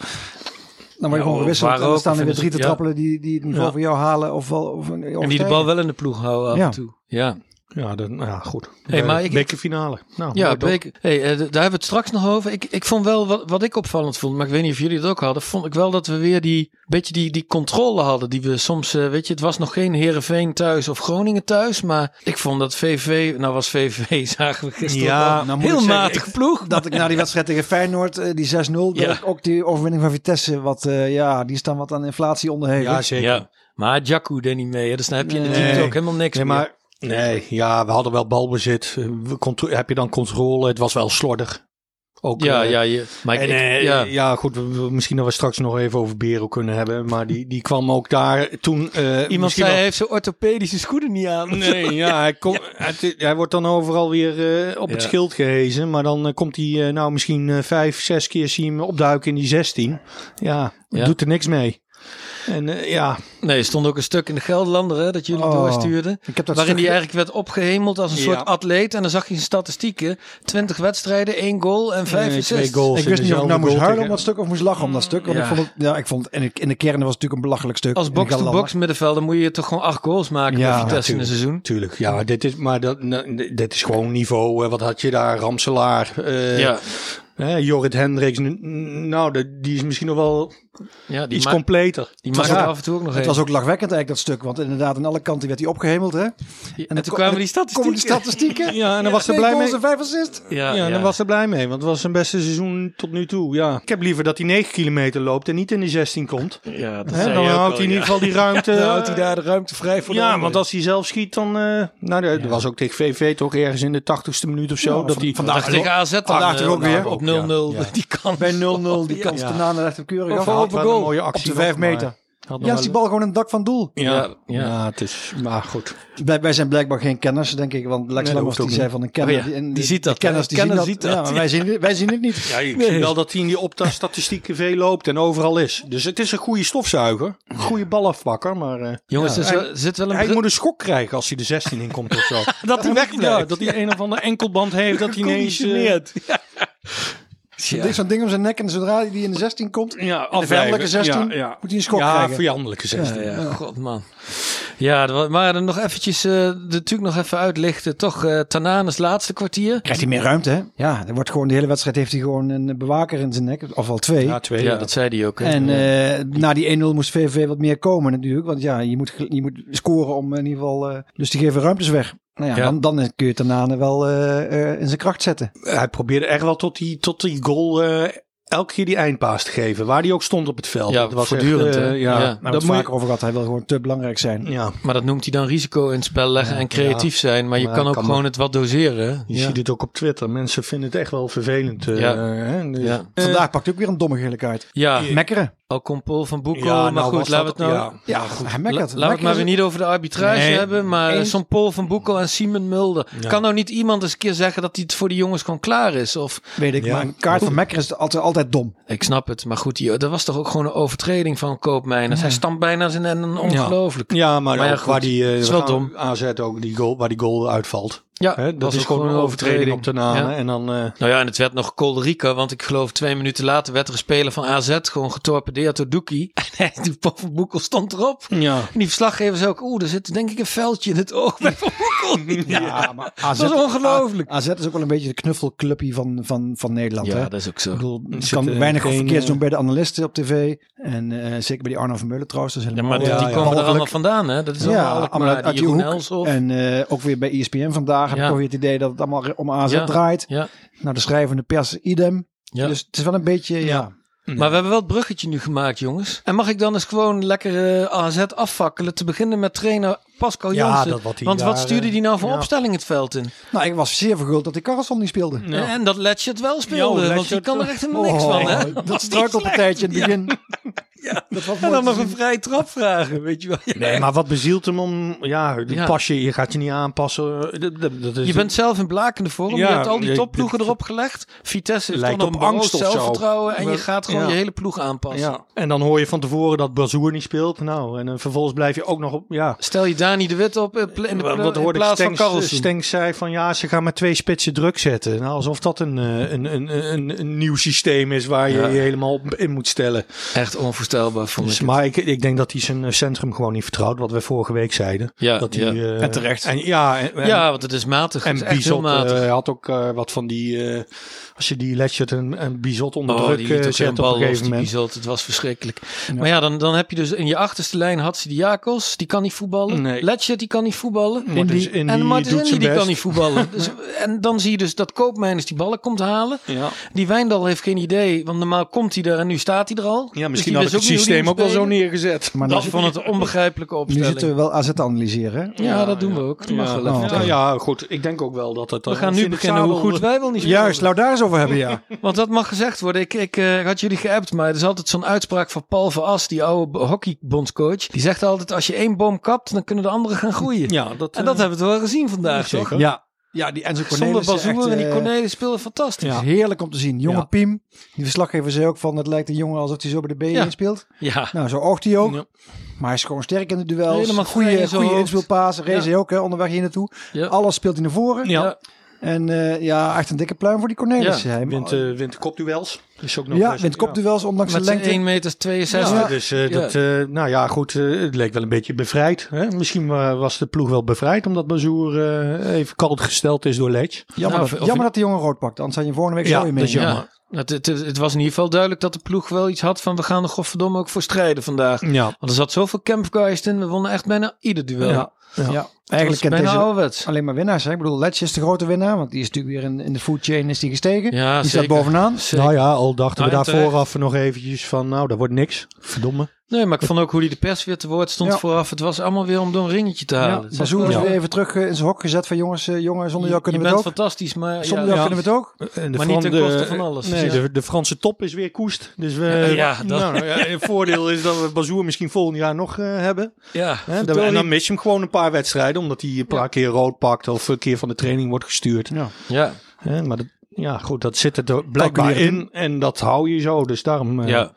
[SPEAKER 7] dan word je gewoon
[SPEAKER 1] of
[SPEAKER 7] gewisseld
[SPEAKER 1] waar
[SPEAKER 7] en dan
[SPEAKER 1] ook,
[SPEAKER 7] staan
[SPEAKER 1] of
[SPEAKER 7] er
[SPEAKER 1] in
[SPEAKER 7] weer
[SPEAKER 1] de-
[SPEAKER 7] drie te
[SPEAKER 1] ja.
[SPEAKER 7] trappelen die, die het niveau
[SPEAKER 1] Ja.
[SPEAKER 7] van jou halen of wel of,
[SPEAKER 1] En die de bal wel in de ploeg houden af
[SPEAKER 7] Ja.
[SPEAKER 1] en toe. Ja,
[SPEAKER 8] Ja, dan, ja, goed.
[SPEAKER 1] Hey,
[SPEAKER 8] Eh,
[SPEAKER 1] maar ik-
[SPEAKER 8] Bekerfinale. Nou,
[SPEAKER 1] ja
[SPEAKER 8] mooi toch?
[SPEAKER 1] beker. Hey, eh, d- daar hebben we het straks nog over. Ik, ik vond wel, wat, wat ik opvallend vond, maar ik weet niet of jullie het ook hadden, vond ik wel dat we weer die, beetje die, die controle hadden die we soms, eh, weet je, het was nog geen Herenveen thuis of Groningen thuis, maar ik vond dat VV, nou was VV, zagen we gisteren
[SPEAKER 8] Ja,
[SPEAKER 1] wel,
[SPEAKER 7] nou moet ik
[SPEAKER 1] heel
[SPEAKER 7] zeggen,
[SPEAKER 1] matige ploeg.
[SPEAKER 7] Dat ik na die wedstrijd tegen Feyenoord, eh, die 6-0, dat
[SPEAKER 1] Ja.
[SPEAKER 7] ik ook die overwinning van Vitesse, wat, eh, ja, die staan wat aan inflatie onderhevig.
[SPEAKER 8] Ja, zeker.
[SPEAKER 1] Ja, maar Jakku deed niet mee. Hè? Dus dan heb je in de
[SPEAKER 8] Nee.
[SPEAKER 1] diepte ook helemaal niks
[SPEAKER 8] Nee,
[SPEAKER 1] meer.
[SPEAKER 8] maar, nee, ja, we hadden wel balbezit. Eh, we contro- heb je dan controle? Het was wel slordig. Ook,
[SPEAKER 1] Ja,
[SPEAKER 8] eh,
[SPEAKER 1] ja, je, maar ik,
[SPEAKER 8] En, eh,
[SPEAKER 1] ik-
[SPEAKER 8] ja.
[SPEAKER 1] ja.
[SPEAKER 8] goed, we- we- misschien dat we straks nog even over Bero kunnen hebben. Maar die, die kwam ook daar toen... eh,
[SPEAKER 1] Iemand
[SPEAKER 8] misschien
[SPEAKER 1] zei, hij
[SPEAKER 8] wel-
[SPEAKER 1] heeft zijn orthopedische schoenen niet aan.
[SPEAKER 8] Nee, ja, hij, kom, het- hij wordt dan overal weer eh, op het
[SPEAKER 1] Ja.
[SPEAKER 8] schild gehezen. Maar dan eh, komt hij, eh, nou misschien eh, vijf, zes keer zie je hem opduiken in die 16. Ja,
[SPEAKER 1] Ja.
[SPEAKER 8] doet er niks mee. En eh, ja,
[SPEAKER 1] Nee, er stond ook een stuk in de Gelderlander hè, dat jullie
[SPEAKER 7] Oh,
[SPEAKER 1] doorstuurden.
[SPEAKER 7] Ik heb dat
[SPEAKER 1] Waarin hij
[SPEAKER 7] stuk-
[SPEAKER 1] eigenlijk werd opgehemeld als een
[SPEAKER 8] Ja.
[SPEAKER 1] soort atleet. En dan zag je zijn statistieken. 20 wedstrijden, één goal en vijf
[SPEAKER 8] eh, twee
[SPEAKER 1] assists.
[SPEAKER 8] goals.
[SPEAKER 7] Ik wist
[SPEAKER 8] in
[SPEAKER 7] niet of ik
[SPEAKER 8] dezelfde
[SPEAKER 7] nou moest
[SPEAKER 8] goal
[SPEAKER 7] huilen om
[SPEAKER 8] tegen-
[SPEAKER 7] dat stuk of moest lachen om dat stuk. Want
[SPEAKER 1] Ja.
[SPEAKER 7] ik vond het, ja, ik vond het, en ik- in de kern was het natuurlijk een belachelijk stuk.
[SPEAKER 1] Als
[SPEAKER 7] En ik had
[SPEAKER 1] box-to-box middenvelder moet je toch gewoon acht goals maken
[SPEAKER 7] Ja,
[SPEAKER 1] bij Vitesse in een
[SPEAKER 8] Ah,
[SPEAKER 1] seizoen.
[SPEAKER 8] natuurlijk. Tuurlijk, ja, dit is, maar dat, nou, dit is gewoon niveau. eh, Wat had je daar? Ramselaar, eh,
[SPEAKER 1] ja.
[SPEAKER 8] hè, Jorrit Hendricks. n- n- Nou, de- die is misschien nog wel
[SPEAKER 1] ja, die,
[SPEAKER 8] iets
[SPEAKER 1] ma
[SPEAKER 8] completer.
[SPEAKER 1] die maakt
[SPEAKER 8] Ja.
[SPEAKER 1] er af en toe ook nog
[SPEAKER 7] Het
[SPEAKER 1] een.
[SPEAKER 7] was ook lachwekkend eigenlijk dat stuk, want inderdaad aan alle kanten werd hij opgehemeld. Hè? En,
[SPEAKER 1] en,
[SPEAKER 7] dan
[SPEAKER 1] toen
[SPEAKER 7] ko-
[SPEAKER 1] kwamen die
[SPEAKER 7] dan
[SPEAKER 1] statistieken.
[SPEAKER 7] komen statistieken.
[SPEAKER 8] Ja, en dan was ze
[SPEAKER 7] Twee
[SPEAKER 8] blij
[SPEAKER 7] goals
[SPEAKER 8] mee.
[SPEAKER 7] en vijf assist.
[SPEAKER 8] Ja, en dan was ze blij mee, want het was zijn beste seizoen tot nu toe. Ja. Ik heb liever dat hij 9 kilometer loopt en niet in de 16 komt.
[SPEAKER 1] ja, dat
[SPEAKER 8] Hè,
[SPEAKER 1] zei
[SPEAKER 8] dan
[SPEAKER 1] je ook
[SPEAKER 8] houdt
[SPEAKER 1] al,
[SPEAKER 8] hij
[SPEAKER 1] ja.
[SPEAKER 8] in ieder geval die ruimte.
[SPEAKER 1] Dan houdt hij
[SPEAKER 8] eh,
[SPEAKER 1] daar de ruimte vrij voor de
[SPEAKER 8] ja,
[SPEAKER 1] anderen.
[SPEAKER 8] want als hij zelf schiet, dan. eh, nou, dat was ook tegen VV toch ergens in de 80ste minuut of zo.
[SPEAKER 7] Ja,
[SPEAKER 8] dat
[SPEAKER 7] van-
[SPEAKER 8] hij
[SPEAKER 1] Vandaag tegen AZ dan,
[SPEAKER 8] vandaag
[SPEAKER 1] eh,
[SPEAKER 8] toch ook
[SPEAKER 1] nou,
[SPEAKER 8] weer?
[SPEAKER 1] Op 0-0
[SPEAKER 8] Ja.
[SPEAKER 1] die kans.
[SPEAKER 7] Bij 0-0 die
[SPEAKER 1] Ja.
[SPEAKER 7] kans
[SPEAKER 8] Ja.
[SPEAKER 7] daarna naar hem keurig
[SPEAKER 1] Of
[SPEAKER 7] af.
[SPEAKER 1] voor
[SPEAKER 8] had
[SPEAKER 1] open
[SPEAKER 8] wel een
[SPEAKER 1] goal.
[SPEAKER 8] mooie
[SPEAKER 7] Op
[SPEAKER 8] actie
[SPEAKER 7] de vijf
[SPEAKER 8] nog, maar
[SPEAKER 7] meter.
[SPEAKER 8] had nog
[SPEAKER 7] Ja,
[SPEAKER 8] wel-
[SPEAKER 7] is die bal gewoon een dak van doel.
[SPEAKER 8] Ja,
[SPEAKER 1] Ja,
[SPEAKER 8] ja,
[SPEAKER 1] ja.
[SPEAKER 8] het is. Maar goed.
[SPEAKER 7] Wij, wij zijn blijkbaar geen kenners, denk ik. Want Lex
[SPEAKER 8] dat
[SPEAKER 7] Lammers
[SPEAKER 8] hoeft
[SPEAKER 7] die
[SPEAKER 8] ook
[SPEAKER 7] zei van een kenner.
[SPEAKER 1] Oh ja,
[SPEAKER 7] en
[SPEAKER 1] die
[SPEAKER 7] de-
[SPEAKER 1] ziet
[SPEAKER 7] de
[SPEAKER 1] dat, hè?
[SPEAKER 7] Kenners, die
[SPEAKER 1] Kenner
[SPEAKER 7] zien
[SPEAKER 1] ziet dat.
[SPEAKER 7] Ja, maar wij, zien, wij zien het niet.
[SPEAKER 8] Ja, ik zie wel dat hij in die opta-statistieken veel loopt en overal is. Dus het is een goede stofzuiger. Een goede balafbakker. Maar eh,
[SPEAKER 1] Jongens,
[SPEAKER 8] ja,
[SPEAKER 1] er
[SPEAKER 8] hij,
[SPEAKER 1] zit- zit wel een
[SPEAKER 8] hij
[SPEAKER 1] bril-
[SPEAKER 8] moet een schok krijgen als hij de 16 in komt of zo.
[SPEAKER 1] dat hij
[SPEAKER 8] Ja, dat hij een of andere enkelband heeft. Dat hij ineens... eh,
[SPEAKER 7] Dit is Zo'n ding om zijn nek en zodra hij die in de 16 komt,
[SPEAKER 8] ja,
[SPEAKER 7] de vijandelijke 16,
[SPEAKER 8] Ja, ja.
[SPEAKER 7] moet hij een schok
[SPEAKER 8] ja,
[SPEAKER 7] krijgen.
[SPEAKER 8] vijandelijke 16.
[SPEAKER 1] Ja, god man. Ja, er wa- maar dan nog eventjes, eh, de natuurlijk nog even uitlichten. Toch eh Tananes laatste kwartier.
[SPEAKER 7] Krijgt hij meer ruimte, hè? Ja, er wordt gewoon de hele wedstrijd heeft hij gewoon een bewaker in zijn nek, of wel twee.
[SPEAKER 8] Ja, twee.
[SPEAKER 1] Ja,
[SPEAKER 8] ja.
[SPEAKER 1] dat zei hij ook. hè.
[SPEAKER 7] en eh, na die 1-0 moest VVV wat meer komen natuurlijk, want ja, je moet, je moet scoren om in ieder geval, eh, dus die geven ruimtes weg. Nou ja,
[SPEAKER 1] Ja.
[SPEAKER 7] Dan, dan kun je Tanane wel eh, eh, in zijn kracht zetten.
[SPEAKER 8] Hij probeerde echt wel tot die, tot die goal eh, elke keer die eindpaas te geven. Waar hij ook stond op het veld.
[SPEAKER 1] Ja,
[SPEAKER 8] Het was
[SPEAKER 1] voortdurend,
[SPEAKER 8] echt, eh,
[SPEAKER 1] hè?
[SPEAKER 8] ja,
[SPEAKER 1] Ja.
[SPEAKER 8] dat
[SPEAKER 7] Daar hebben Nou, we
[SPEAKER 8] moet
[SPEAKER 7] het
[SPEAKER 8] je-
[SPEAKER 7] vaker over gehad. Hij wil gewoon te belangrijk zijn.
[SPEAKER 8] ja,
[SPEAKER 1] Maar dat noemt hij dan risico in het spel leggen en creatief zijn. Maar je
[SPEAKER 7] Maar
[SPEAKER 1] kan
[SPEAKER 7] dat
[SPEAKER 1] ook
[SPEAKER 7] kan
[SPEAKER 1] gewoon het wat doseren. hè?
[SPEAKER 8] je
[SPEAKER 1] Ja.
[SPEAKER 8] ziet het ook op Twitter. Mensen vinden het echt wel vervelend. eh,
[SPEAKER 1] Ja.
[SPEAKER 8] hè. Dus-
[SPEAKER 1] Ja.
[SPEAKER 8] Eh,
[SPEAKER 7] Vandaag pakt hij ook weer een domme gele kaart.
[SPEAKER 1] Ja,
[SPEAKER 7] Mekkeren.
[SPEAKER 1] Alcon Paul van Boekel.
[SPEAKER 8] ja, nou
[SPEAKER 1] maar
[SPEAKER 8] was
[SPEAKER 1] goed, laten we het
[SPEAKER 8] dat-
[SPEAKER 1] nou...
[SPEAKER 8] ja.
[SPEAKER 7] Ja, goed. Hij
[SPEAKER 1] La-
[SPEAKER 7] mekkert.
[SPEAKER 1] Laten we het maar weer niet over de arbitrage
[SPEAKER 8] Nee.
[SPEAKER 1] hebben. Maar
[SPEAKER 7] Eens.
[SPEAKER 1] zo'n Paul van Boekel en Simon Mulder.
[SPEAKER 8] Ja.
[SPEAKER 1] Kan nou niet iemand eens een keer zeggen dat hij het voor die jongens gewoon klaar is? Of,
[SPEAKER 7] Weet ik,
[SPEAKER 8] Ja.
[SPEAKER 7] maar een kaart van Mekker is altijd, altijd dom.
[SPEAKER 1] ik snap het, maar goed. die- Dat was toch ook gewoon een overtreding van Koopmeiners. Hij stamt bijna zijn en ongelooflijk.
[SPEAKER 8] Ja, maar,
[SPEAKER 1] Maar ja,
[SPEAKER 8] ook
[SPEAKER 1] goed.
[SPEAKER 8] waar die eh,
[SPEAKER 1] Het is wel
[SPEAKER 8] we gaan
[SPEAKER 1] dom.
[SPEAKER 8] AZ ook die goal, waar die goal uitvalt.
[SPEAKER 1] Ja,
[SPEAKER 8] Hè, dat
[SPEAKER 1] was
[SPEAKER 8] is
[SPEAKER 1] ook
[SPEAKER 8] gewoon een overtreding op de naam.
[SPEAKER 1] Ja.
[SPEAKER 8] hè. En dan, eh,
[SPEAKER 1] Nou ja, en het werd nog Kolderica, want ik geloof twee minuten later werd er een speler van AZ gewoon getorpedeerd door Doekie. En hij, die Paul van Boekel stond erop.
[SPEAKER 8] ja.
[SPEAKER 1] En die verslaggevers ook, oeh, er zit denk ik een veldje in het oog bij Van Boekel. Ja,
[SPEAKER 7] maar
[SPEAKER 1] dat is ongelooflijk.
[SPEAKER 7] AZ is ook wel een beetje de knuffelclubje van, van, van Nederland. hè?
[SPEAKER 1] is ook
[SPEAKER 7] Ik
[SPEAKER 1] zo.
[SPEAKER 7] bedoel, je
[SPEAKER 8] zit,
[SPEAKER 7] kan
[SPEAKER 8] eh,
[SPEAKER 7] weinig
[SPEAKER 8] geen,
[SPEAKER 7] verkeerd
[SPEAKER 8] eh,
[SPEAKER 7] doen bij de analisten op tv. En eh, zeker bij die Arno van Meulen trouwens. Dat is
[SPEAKER 1] Ja,
[SPEAKER 7] helemaal
[SPEAKER 1] maar die-
[SPEAKER 8] Ja,
[SPEAKER 1] die
[SPEAKER 8] ja.
[SPEAKER 1] komen er
[SPEAKER 7] walgelijk.
[SPEAKER 1] allemaal vandaan, hè? Dat is
[SPEAKER 7] Ja,
[SPEAKER 1] allemaal
[SPEAKER 7] allemaal
[SPEAKER 1] Alkmaar,
[SPEAKER 7] uit- uit
[SPEAKER 1] die
[SPEAKER 7] die
[SPEAKER 1] Jeroen
[SPEAKER 7] hoek.
[SPEAKER 1] Elshoff.
[SPEAKER 7] En eh, ook weer bij ESPN vandaag heb
[SPEAKER 1] Ja.
[SPEAKER 7] ik toch weer het idee dat het allemaal om AZ
[SPEAKER 1] Ja.
[SPEAKER 7] draait.
[SPEAKER 1] Ja.
[SPEAKER 7] Nou, de schrijvende pers idem.
[SPEAKER 1] Ja.
[SPEAKER 7] Dus het is wel een beetje, ja.
[SPEAKER 1] Maar we hebben wel het bruggetje nu gemaakt, jongens. En mag ik dan eens gewoon lekker eh, AZ afvakkelen? Te beginnen met trainer Pascal
[SPEAKER 8] Ja,
[SPEAKER 1] Jansen.
[SPEAKER 8] dat wat hij
[SPEAKER 1] Want wat
[SPEAKER 8] daar,
[SPEAKER 1] stuurde
[SPEAKER 8] eh,
[SPEAKER 1] die nou voor
[SPEAKER 8] ja.
[SPEAKER 1] opstelling het veld in?
[SPEAKER 7] Nou, ik was zeer verguld dat die Karlsson niet speelde.
[SPEAKER 1] En, en dat Letchert wel speelde, want die
[SPEAKER 8] Letchert,
[SPEAKER 1] kan er echt helemaal niks van, hè?
[SPEAKER 7] Oh, Dat struikelpartijtje in het begin. Dat was
[SPEAKER 1] En
[SPEAKER 7] mooi
[SPEAKER 1] dan
[SPEAKER 7] te
[SPEAKER 1] nog
[SPEAKER 7] zien.
[SPEAKER 1] een vrije trap vragen, weet je wel. Ja.
[SPEAKER 8] Nee, maar wat bezielt hem om... Ja,
[SPEAKER 1] Ja.
[SPEAKER 8] Pas je, je gaat je niet aanpassen. eh, Dat, dat, dat is,
[SPEAKER 1] Je bent zelf in blakende vorm.
[SPEAKER 8] Ja,
[SPEAKER 1] je hebt al die
[SPEAKER 8] je-
[SPEAKER 1] topploegen
[SPEAKER 8] dit-
[SPEAKER 1] erop gelegd. Vitesse heeft
[SPEAKER 8] Lijkt
[SPEAKER 1] toch nog
[SPEAKER 8] op
[SPEAKER 1] een beroofd
[SPEAKER 8] angst of zo.
[SPEAKER 1] zelfvertrouwen. En je
[SPEAKER 8] Maar-
[SPEAKER 1] gaat gewoon
[SPEAKER 8] ja.
[SPEAKER 1] je hele ploeg aanpassen.
[SPEAKER 8] ja. En dan hoor je van tevoren dat Bazoer niet speelt. Nou, en eh, vervolgens blijf je ook nog op... Ja,
[SPEAKER 1] Stel je Dani de Wit op eh, pla- in, de, pla-
[SPEAKER 8] Wat
[SPEAKER 1] in
[SPEAKER 8] hoorde ik
[SPEAKER 1] plaats van
[SPEAKER 8] Stenks,
[SPEAKER 1] Karlsson.
[SPEAKER 8] Stenks zei van ja, ze gaan met twee spitsen druk zetten. Nou, alsof dat een, eh, een, een, een, een nieuw systeem is waar je
[SPEAKER 1] Ja.
[SPEAKER 8] je helemaal op in moet stellen.
[SPEAKER 1] Echt onvoorstelbaar vond
[SPEAKER 8] Dus,
[SPEAKER 1] ik. het.
[SPEAKER 8] maar ik, ik denk dat hij zijn eh, centrum gewoon niet vertrouwt, wat we vorige week zeiden.
[SPEAKER 1] Ja,
[SPEAKER 8] dat
[SPEAKER 1] ja.
[SPEAKER 8] hij, eh,
[SPEAKER 7] En terecht.
[SPEAKER 8] En, ja, en, en-
[SPEAKER 1] ja, want het is matig.
[SPEAKER 8] en
[SPEAKER 1] het is echt heel
[SPEAKER 8] Bizot eh,
[SPEAKER 1] matig.
[SPEAKER 8] had ook eh, wat van die, eh, als je die Letchert en, en Bizot onder
[SPEAKER 1] Oh,
[SPEAKER 8] druk
[SPEAKER 1] die
[SPEAKER 8] eh,
[SPEAKER 1] liet ook geen
[SPEAKER 8] zet op
[SPEAKER 1] bal
[SPEAKER 8] een
[SPEAKER 1] los,
[SPEAKER 8] gegeven
[SPEAKER 1] die
[SPEAKER 8] moment.
[SPEAKER 1] Bizot. Het was verschrikkelijk. Maar ja, dan, dan heb je dus in je achterste lijn Hatsi Diakos. Die kan niet voetballen.
[SPEAKER 8] Nee.
[SPEAKER 1] Letchert, die kan niet voetballen.
[SPEAKER 8] Martens Indy
[SPEAKER 1] en Martens
[SPEAKER 8] doet
[SPEAKER 1] Indy,
[SPEAKER 8] zijn
[SPEAKER 1] die kan
[SPEAKER 8] best.
[SPEAKER 1] niet voetballen. Dus, en dan zie je dus dat Koopmeiners die ballen komt halen.
[SPEAKER 8] Ja.
[SPEAKER 1] Die Wijndal heeft geen idee, want normaal komt hij er en nu staat hij er al.
[SPEAKER 8] Ja,
[SPEAKER 1] Dus
[SPEAKER 8] misschien
[SPEAKER 1] die wist niet
[SPEAKER 8] had ik het
[SPEAKER 1] hoe die
[SPEAKER 8] systeem ook wel
[SPEAKER 1] moest
[SPEAKER 8] zo
[SPEAKER 1] spelen.
[SPEAKER 8] neergezet. Maar
[SPEAKER 1] Dat vond het een onbegrijpelijke
[SPEAKER 7] Nu
[SPEAKER 1] opstelling.
[SPEAKER 7] zitten we wel AZ te analyseren. hè?
[SPEAKER 1] ja, dat doen we ook. Dat mag wel
[SPEAKER 7] Ja.
[SPEAKER 1] even.
[SPEAKER 8] ja, ja, goed. Ik denk ook wel dat het... eh,
[SPEAKER 1] We gaan nu beginnen hoe goed wij wel niet spelen.
[SPEAKER 7] Juist, laat daar eens over hebben, ja.
[SPEAKER 1] Want dat mag gezegd worden. Ik, ik eh, had jullie geappt, maar er is altijd zo'n uitspraak van Paul van As, die oude b- hockeybondscoach. Die zegt altijd, als je één boom kapt, dan kunnen de anderen gaan groeien.
[SPEAKER 8] Ja, dat,
[SPEAKER 1] En dat
[SPEAKER 8] eh,
[SPEAKER 1] hebben we toch wel gezien vandaag, toch?
[SPEAKER 8] zeker.
[SPEAKER 7] Ja, ja die Enzo
[SPEAKER 1] Zonder
[SPEAKER 7] Cornelis. is echt,
[SPEAKER 1] Bazoer en die
[SPEAKER 7] eh,
[SPEAKER 1] Cornelis speelden fantastisch.
[SPEAKER 7] is
[SPEAKER 1] Ja.
[SPEAKER 7] Heerlijk om te zien. Jonge
[SPEAKER 8] Ja.
[SPEAKER 7] Piem. Die verslaggever zei ook van het lijkt een jongen alsof hij zo bij de benen
[SPEAKER 1] Ja.
[SPEAKER 7] speelt.
[SPEAKER 1] ja.
[SPEAKER 7] Nou, zo oogt hij ook.
[SPEAKER 8] Ja.
[SPEAKER 7] Maar hij is gewoon sterk in de duels.
[SPEAKER 1] Helemaal vrij in
[SPEAKER 7] goede,
[SPEAKER 1] zijn
[SPEAKER 7] goede
[SPEAKER 1] hoofd.
[SPEAKER 7] inspeelpaas. Race
[SPEAKER 1] Ja.
[SPEAKER 7] hij ook hè, onderweg hier naartoe. Alles speelt hij naar voren.
[SPEAKER 1] Ja.
[SPEAKER 7] En eh, ja, echt een dikke pluim voor die Cornelis.
[SPEAKER 1] Ja,
[SPEAKER 7] Hij
[SPEAKER 8] Wint, eh wint kopduels. Is ook nog
[SPEAKER 7] ja,
[SPEAKER 8] best-
[SPEAKER 7] wint kopduels ondanks
[SPEAKER 1] Met
[SPEAKER 7] zijn
[SPEAKER 1] zijn
[SPEAKER 7] lengte.
[SPEAKER 1] 1 meter 62.
[SPEAKER 8] Ja,
[SPEAKER 7] Ja.
[SPEAKER 8] dus eh, dat, eh, nou ja, goed, eh, het leek wel een beetje bevrijd. Hè? Misschien eh, was de ploeg wel bevrijd, omdat Bazoer eh, even koud gesteld is door Lech.
[SPEAKER 7] Jammer,
[SPEAKER 1] Nou,
[SPEAKER 7] dat,
[SPEAKER 1] of-
[SPEAKER 7] jammer dat die jongen rood pakt. Anders had je hem volgende week
[SPEAKER 8] Ja,
[SPEAKER 7] zo weer
[SPEAKER 8] dat
[SPEAKER 7] mee.
[SPEAKER 8] is jammer.
[SPEAKER 1] Ja. Het, het, het was in ieder geval duidelijk dat de ploeg wel iets had van we gaan er godverdomme ook voor strijden vandaag.
[SPEAKER 8] Ja,
[SPEAKER 1] Want er zat zoveel campgeist in, we wonnen echt bijna ieder duel.
[SPEAKER 8] Ja.
[SPEAKER 1] Ja.
[SPEAKER 7] Ja.
[SPEAKER 8] Ja.
[SPEAKER 7] Eigenlijk kent
[SPEAKER 1] bijna
[SPEAKER 7] deze
[SPEAKER 1] ouderwets.
[SPEAKER 7] alleen maar winnaars. Hè? Ik bedoel, Letch is de grote winnaar. Want die is natuurlijk weer in, in de food chain is die gestegen.
[SPEAKER 1] Ja,
[SPEAKER 7] die
[SPEAKER 1] zeker.
[SPEAKER 7] staat bovenaan.
[SPEAKER 1] Zeker.
[SPEAKER 8] nou ja, al dachten
[SPEAKER 1] Nou,
[SPEAKER 8] we
[SPEAKER 1] en
[SPEAKER 8] daar vooraf nog eventjes van, nou, dat wordt niks. Verdomme.
[SPEAKER 1] Nee, maar ik vond ook hoe hij de pers weer te woord stond
[SPEAKER 7] Ja.
[SPEAKER 1] vooraf. Het was allemaal weer om door een ringetje te
[SPEAKER 7] Ja,
[SPEAKER 1] halen. Het is
[SPEAKER 7] Bazoer is
[SPEAKER 1] echt wel-
[SPEAKER 7] weer even terug eh, in zijn hok gezet van jongens, eh, jongen, zonder jou kunnen
[SPEAKER 1] je
[SPEAKER 7] we het
[SPEAKER 1] bent
[SPEAKER 7] ook.
[SPEAKER 1] fantastisch, maar
[SPEAKER 7] Zonder
[SPEAKER 1] ja,
[SPEAKER 7] jou kunnen we het ook.
[SPEAKER 8] En Eh, de
[SPEAKER 1] Maar niet ten
[SPEAKER 8] Fran-
[SPEAKER 1] koste
[SPEAKER 8] de-
[SPEAKER 1] van alles. dus
[SPEAKER 8] Nee,
[SPEAKER 1] Ja.
[SPEAKER 8] de, de Franse top is weer koest. Dus we,
[SPEAKER 1] ja, dat-
[SPEAKER 8] nou, ja, het voordeel is dat we Bazoer misschien volgend jaar nog eh, hebben.
[SPEAKER 1] ja,
[SPEAKER 8] Hè, dat we- en dan mis je hem gewoon een paar wedstrijden, omdat hij een paar keer rood pakt of een keer van de training wordt gestuurd.
[SPEAKER 1] ja,
[SPEAKER 8] Hè, maar dat, ja, goed, dat zit er do- blijkbaar in en dat hou je zo. Dus daarom eh,
[SPEAKER 1] ja.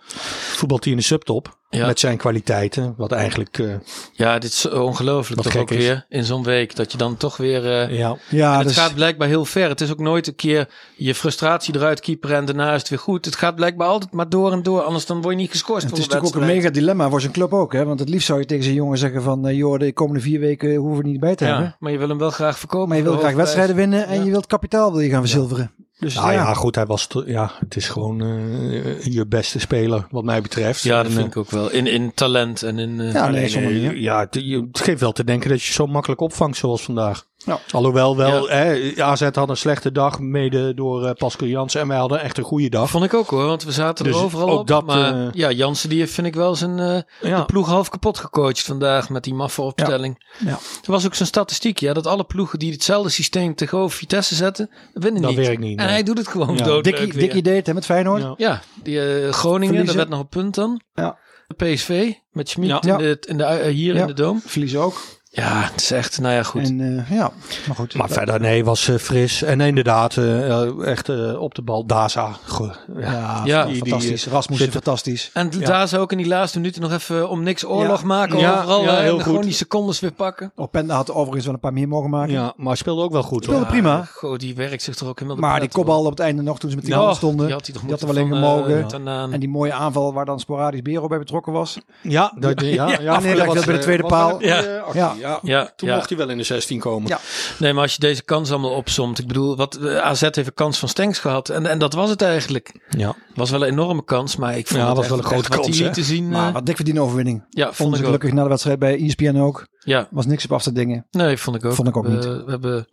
[SPEAKER 8] voetbalt hij in de subtop
[SPEAKER 1] Ja.
[SPEAKER 8] met zijn kwaliteiten. Wat eigenlijk, eh,
[SPEAKER 1] ja, dit is ongelooflijk
[SPEAKER 8] Wat
[SPEAKER 1] toch ook
[SPEAKER 8] gek is.
[SPEAKER 1] weer in zo'n week. Dat je dan toch weer... eh,
[SPEAKER 8] ja.
[SPEAKER 7] Ja,
[SPEAKER 1] en het
[SPEAKER 7] dus,
[SPEAKER 1] gaat blijkbaar heel ver. Het is ook nooit een keer je frustratie eruit kieperen en daarna is het weer goed. Het gaat blijkbaar altijd maar door en door. Anders dan word je niet geschorst
[SPEAKER 7] het
[SPEAKER 1] voor
[SPEAKER 7] is
[SPEAKER 1] een
[SPEAKER 7] natuurlijk ook een
[SPEAKER 1] wedstrijd.
[SPEAKER 7] mega dilemma voor zijn club ook. Hè? Want het liefst zou je tegen zijn jongen zeggen van, eh, joh, de komende vier weken hoeven we niet bij te
[SPEAKER 1] ja,
[SPEAKER 7] hebben.
[SPEAKER 1] maar je wil hem wel graag verkopen.
[SPEAKER 7] Maar je wil
[SPEAKER 1] voor
[SPEAKER 7] graag
[SPEAKER 1] de hoofdprijs.
[SPEAKER 7] wedstrijden winnen en je wilt kapitaal wil je gaan verzilveren. Dus
[SPEAKER 8] Nou ja,
[SPEAKER 7] ja.
[SPEAKER 8] goed, hij was, to- ja, het is gewoon eh, je beste speler wat mij betreft.
[SPEAKER 1] Ja, dat
[SPEAKER 8] En,
[SPEAKER 1] vind ik ook wel. In, in talent en in... eh,
[SPEAKER 7] Ja,
[SPEAKER 8] eh,
[SPEAKER 7] nee,
[SPEAKER 8] alleen,
[SPEAKER 7] sommige
[SPEAKER 8] eh,
[SPEAKER 7] dingen.
[SPEAKER 8] ja, het, je- het geeft wel te denken dat je zo makkelijk opvangt zoals vandaag. Alhoewel wel, hè, AZ had een slechte dag, mede door eh, Pascal Jansen. En wij hadden echt een goede dag.
[SPEAKER 1] Vond ik ook hoor, want we zaten
[SPEAKER 8] Dus
[SPEAKER 1] er overal
[SPEAKER 8] ook
[SPEAKER 1] op.
[SPEAKER 8] dat,
[SPEAKER 1] maar
[SPEAKER 8] eh,
[SPEAKER 1] ja, Jansen die heeft, vind ik wel zijn eh,
[SPEAKER 8] Ja.
[SPEAKER 1] de ploeg half kapot gecoacht vandaag met die maffe opstelling.
[SPEAKER 8] Ja.
[SPEAKER 1] Er was ook zo'n statistiek, ja, dat alle ploegen die hetzelfde systeem tegenover Vitesse zetten, winnen
[SPEAKER 8] Dat
[SPEAKER 1] niet.
[SPEAKER 8] werkt niet,
[SPEAKER 1] En
[SPEAKER 8] nee.
[SPEAKER 1] hij doet het gewoon
[SPEAKER 8] Ja.
[SPEAKER 1] dood.
[SPEAKER 7] Dikkie, Dikkie deed hè, met Feyenoord.
[SPEAKER 8] Ja.
[SPEAKER 1] Ja, die eh, Groningen,
[SPEAKER 7] Verliezen.
[SPEAKER 1] daar werd nog een punt dan.
[SPEAKER 7] Ja.
[SPEAKER 1] PSV met Schmid
[SPEAKER 8] Ja.
[SPEAKER 1] in de, in de, eh, hier
[SPEAKER 7] Ja.
[SPEAKER 1] in de Doom.
[SPEAKER 7] Verliezen ook.
[SPEAKER 1] Ja, het is echt, nou ja, goed.
[SPEAKER 7] En, eh, ja, maar goed.
[SPEAKER 8] Maar verder, nee, was eh, fris. En inderdaad, eh, eh, echt eh, op de bal. Daza. Ge- ja.
[SPEAKER 7] ja,
[SPEAKER 1] Ja,
[SPEAKER 7] ja,
[SPEAKER 1] die-
[SPEAKER 7] fantastisch.
[SPEAKER 8] die-
[SPEAKER 7] Rasmussen,
[SPEAKER 8] zit-
[SPEAKER 7] fantastisch.
[SPEAKER 1] En daar zou ook in die laatste minuten nog even om niks oorlog
[SPEAKER 7] Ja.
[SPEAKER 1] maken.
[SPEAKER 8] Ja,
[SPEAKER 1] overal
[SPEAKER 8] ja,
[SPEAKER 1] eh, en
[SPEAKER 8] heel
[SPEAKER 1] dan gewoon
[SPEAKER 8] goed.
[SPEAKER 1] die secondes weer pakken.
[SPEAKER 7] Openda had overigens wel een paar meer mogen maken.
[SPEAKER 8] ja, maar speelde ook wel goed.
[SPEAKER 7] Speelde
[SPEAKER 8] Hoor.
[SPEAKER 1] Ja,
[SPEAKER 7] Nou, prima.
[SPEAKER 1] Goh, die werkt zich er ook helemaal de
[SPEAKER 7] Maar die
[SPEAKER 1] pret
[SPEAKER 7] kopbal op het einde nog toen ze met die
[SPEAKER 1] Nou,
[SPEAKER 7] handen stonden.
[SPEAKER 1] die
[SPEAKER 7] Die
[SPEAKER 1] had hij
[SPEAKER 7] had,
[SPEAKER 1] toch moeten
[SPEAKER 7] er wel in
[SPEAKER 1] van, eh,
[SPEAKER 7] gemogen.
[SPEAKER 1] Tanaan.
[SPEAKER 7] En die mooie aanval waar dan sporadisch Bero bij betrokken was.
[SPEAKER 8] Ja, dat, ja, ja,
[SPEAKER 7] afgelegd werd bij de
[SPEAKER 8] eh,
[SPEAKER 7] tweede
[SPEAKER 8] was
[SPEAKER 7] paal.
[SPEAKER 8] een goede
[SPEAKER 1] Ja.
[SPEAKER 8] actie,
[SPEAKER 7] Ja.
[SPEAKER 1] Ja,
[SPEAKER 8] Toen
[SPEAKER 1] ja.
[SPEAKER 8] mocht hij wel in de 16 komen.
[SPEAKER 7] Ja.
[SPEAKER 1] Nee, maar als je deze kans allemaal opzomt. Ik bedoel, wat, eh, AZ heeft een kans van Stenks gehad. En, en dat was het eigenlijk.
[SPEAKER 8] ja.
[SPEAKER 1] Was wel een enorme kans, maar ik vond
[SPEAKER 8] Ja,
[SPEAKER 1] het
[SPEAKER 8] was
[SPEAKER 1] echt-
[SPEAKER 8] wel een grote
[SPEAKER 1] echt wat
[SPEAKER 8] kans,
[SPEAKER 1] hij
[SPEAKER 8] hè?
[SPEAKER 1] liet te zien.
[SPEAKER 7] Maar
[SPEAKER 1] eh,
[SPEAKER 7] wat dik verdiende overwinning.
[SPEAKER 1] ja,
[SPEAKER 7] Vonden
[SPEAKER 1] vond
[SPEAKER 7] ze
[SPEAKER 1] ik ook.
[SPEAKER 7] gelukkig na de wedstrijd bij E ESPN ook.
[SPEAKER 1] Ja,
[SPEAKER 7] Was niks op af te dingen.
[SPEAKER 1] nee, vond ik ook.
[SPEAKER 7] Vond ik ook
[SPEAKER 1] We-
[SPEAKER 7] niet.
[SPEAKER 1] We hebben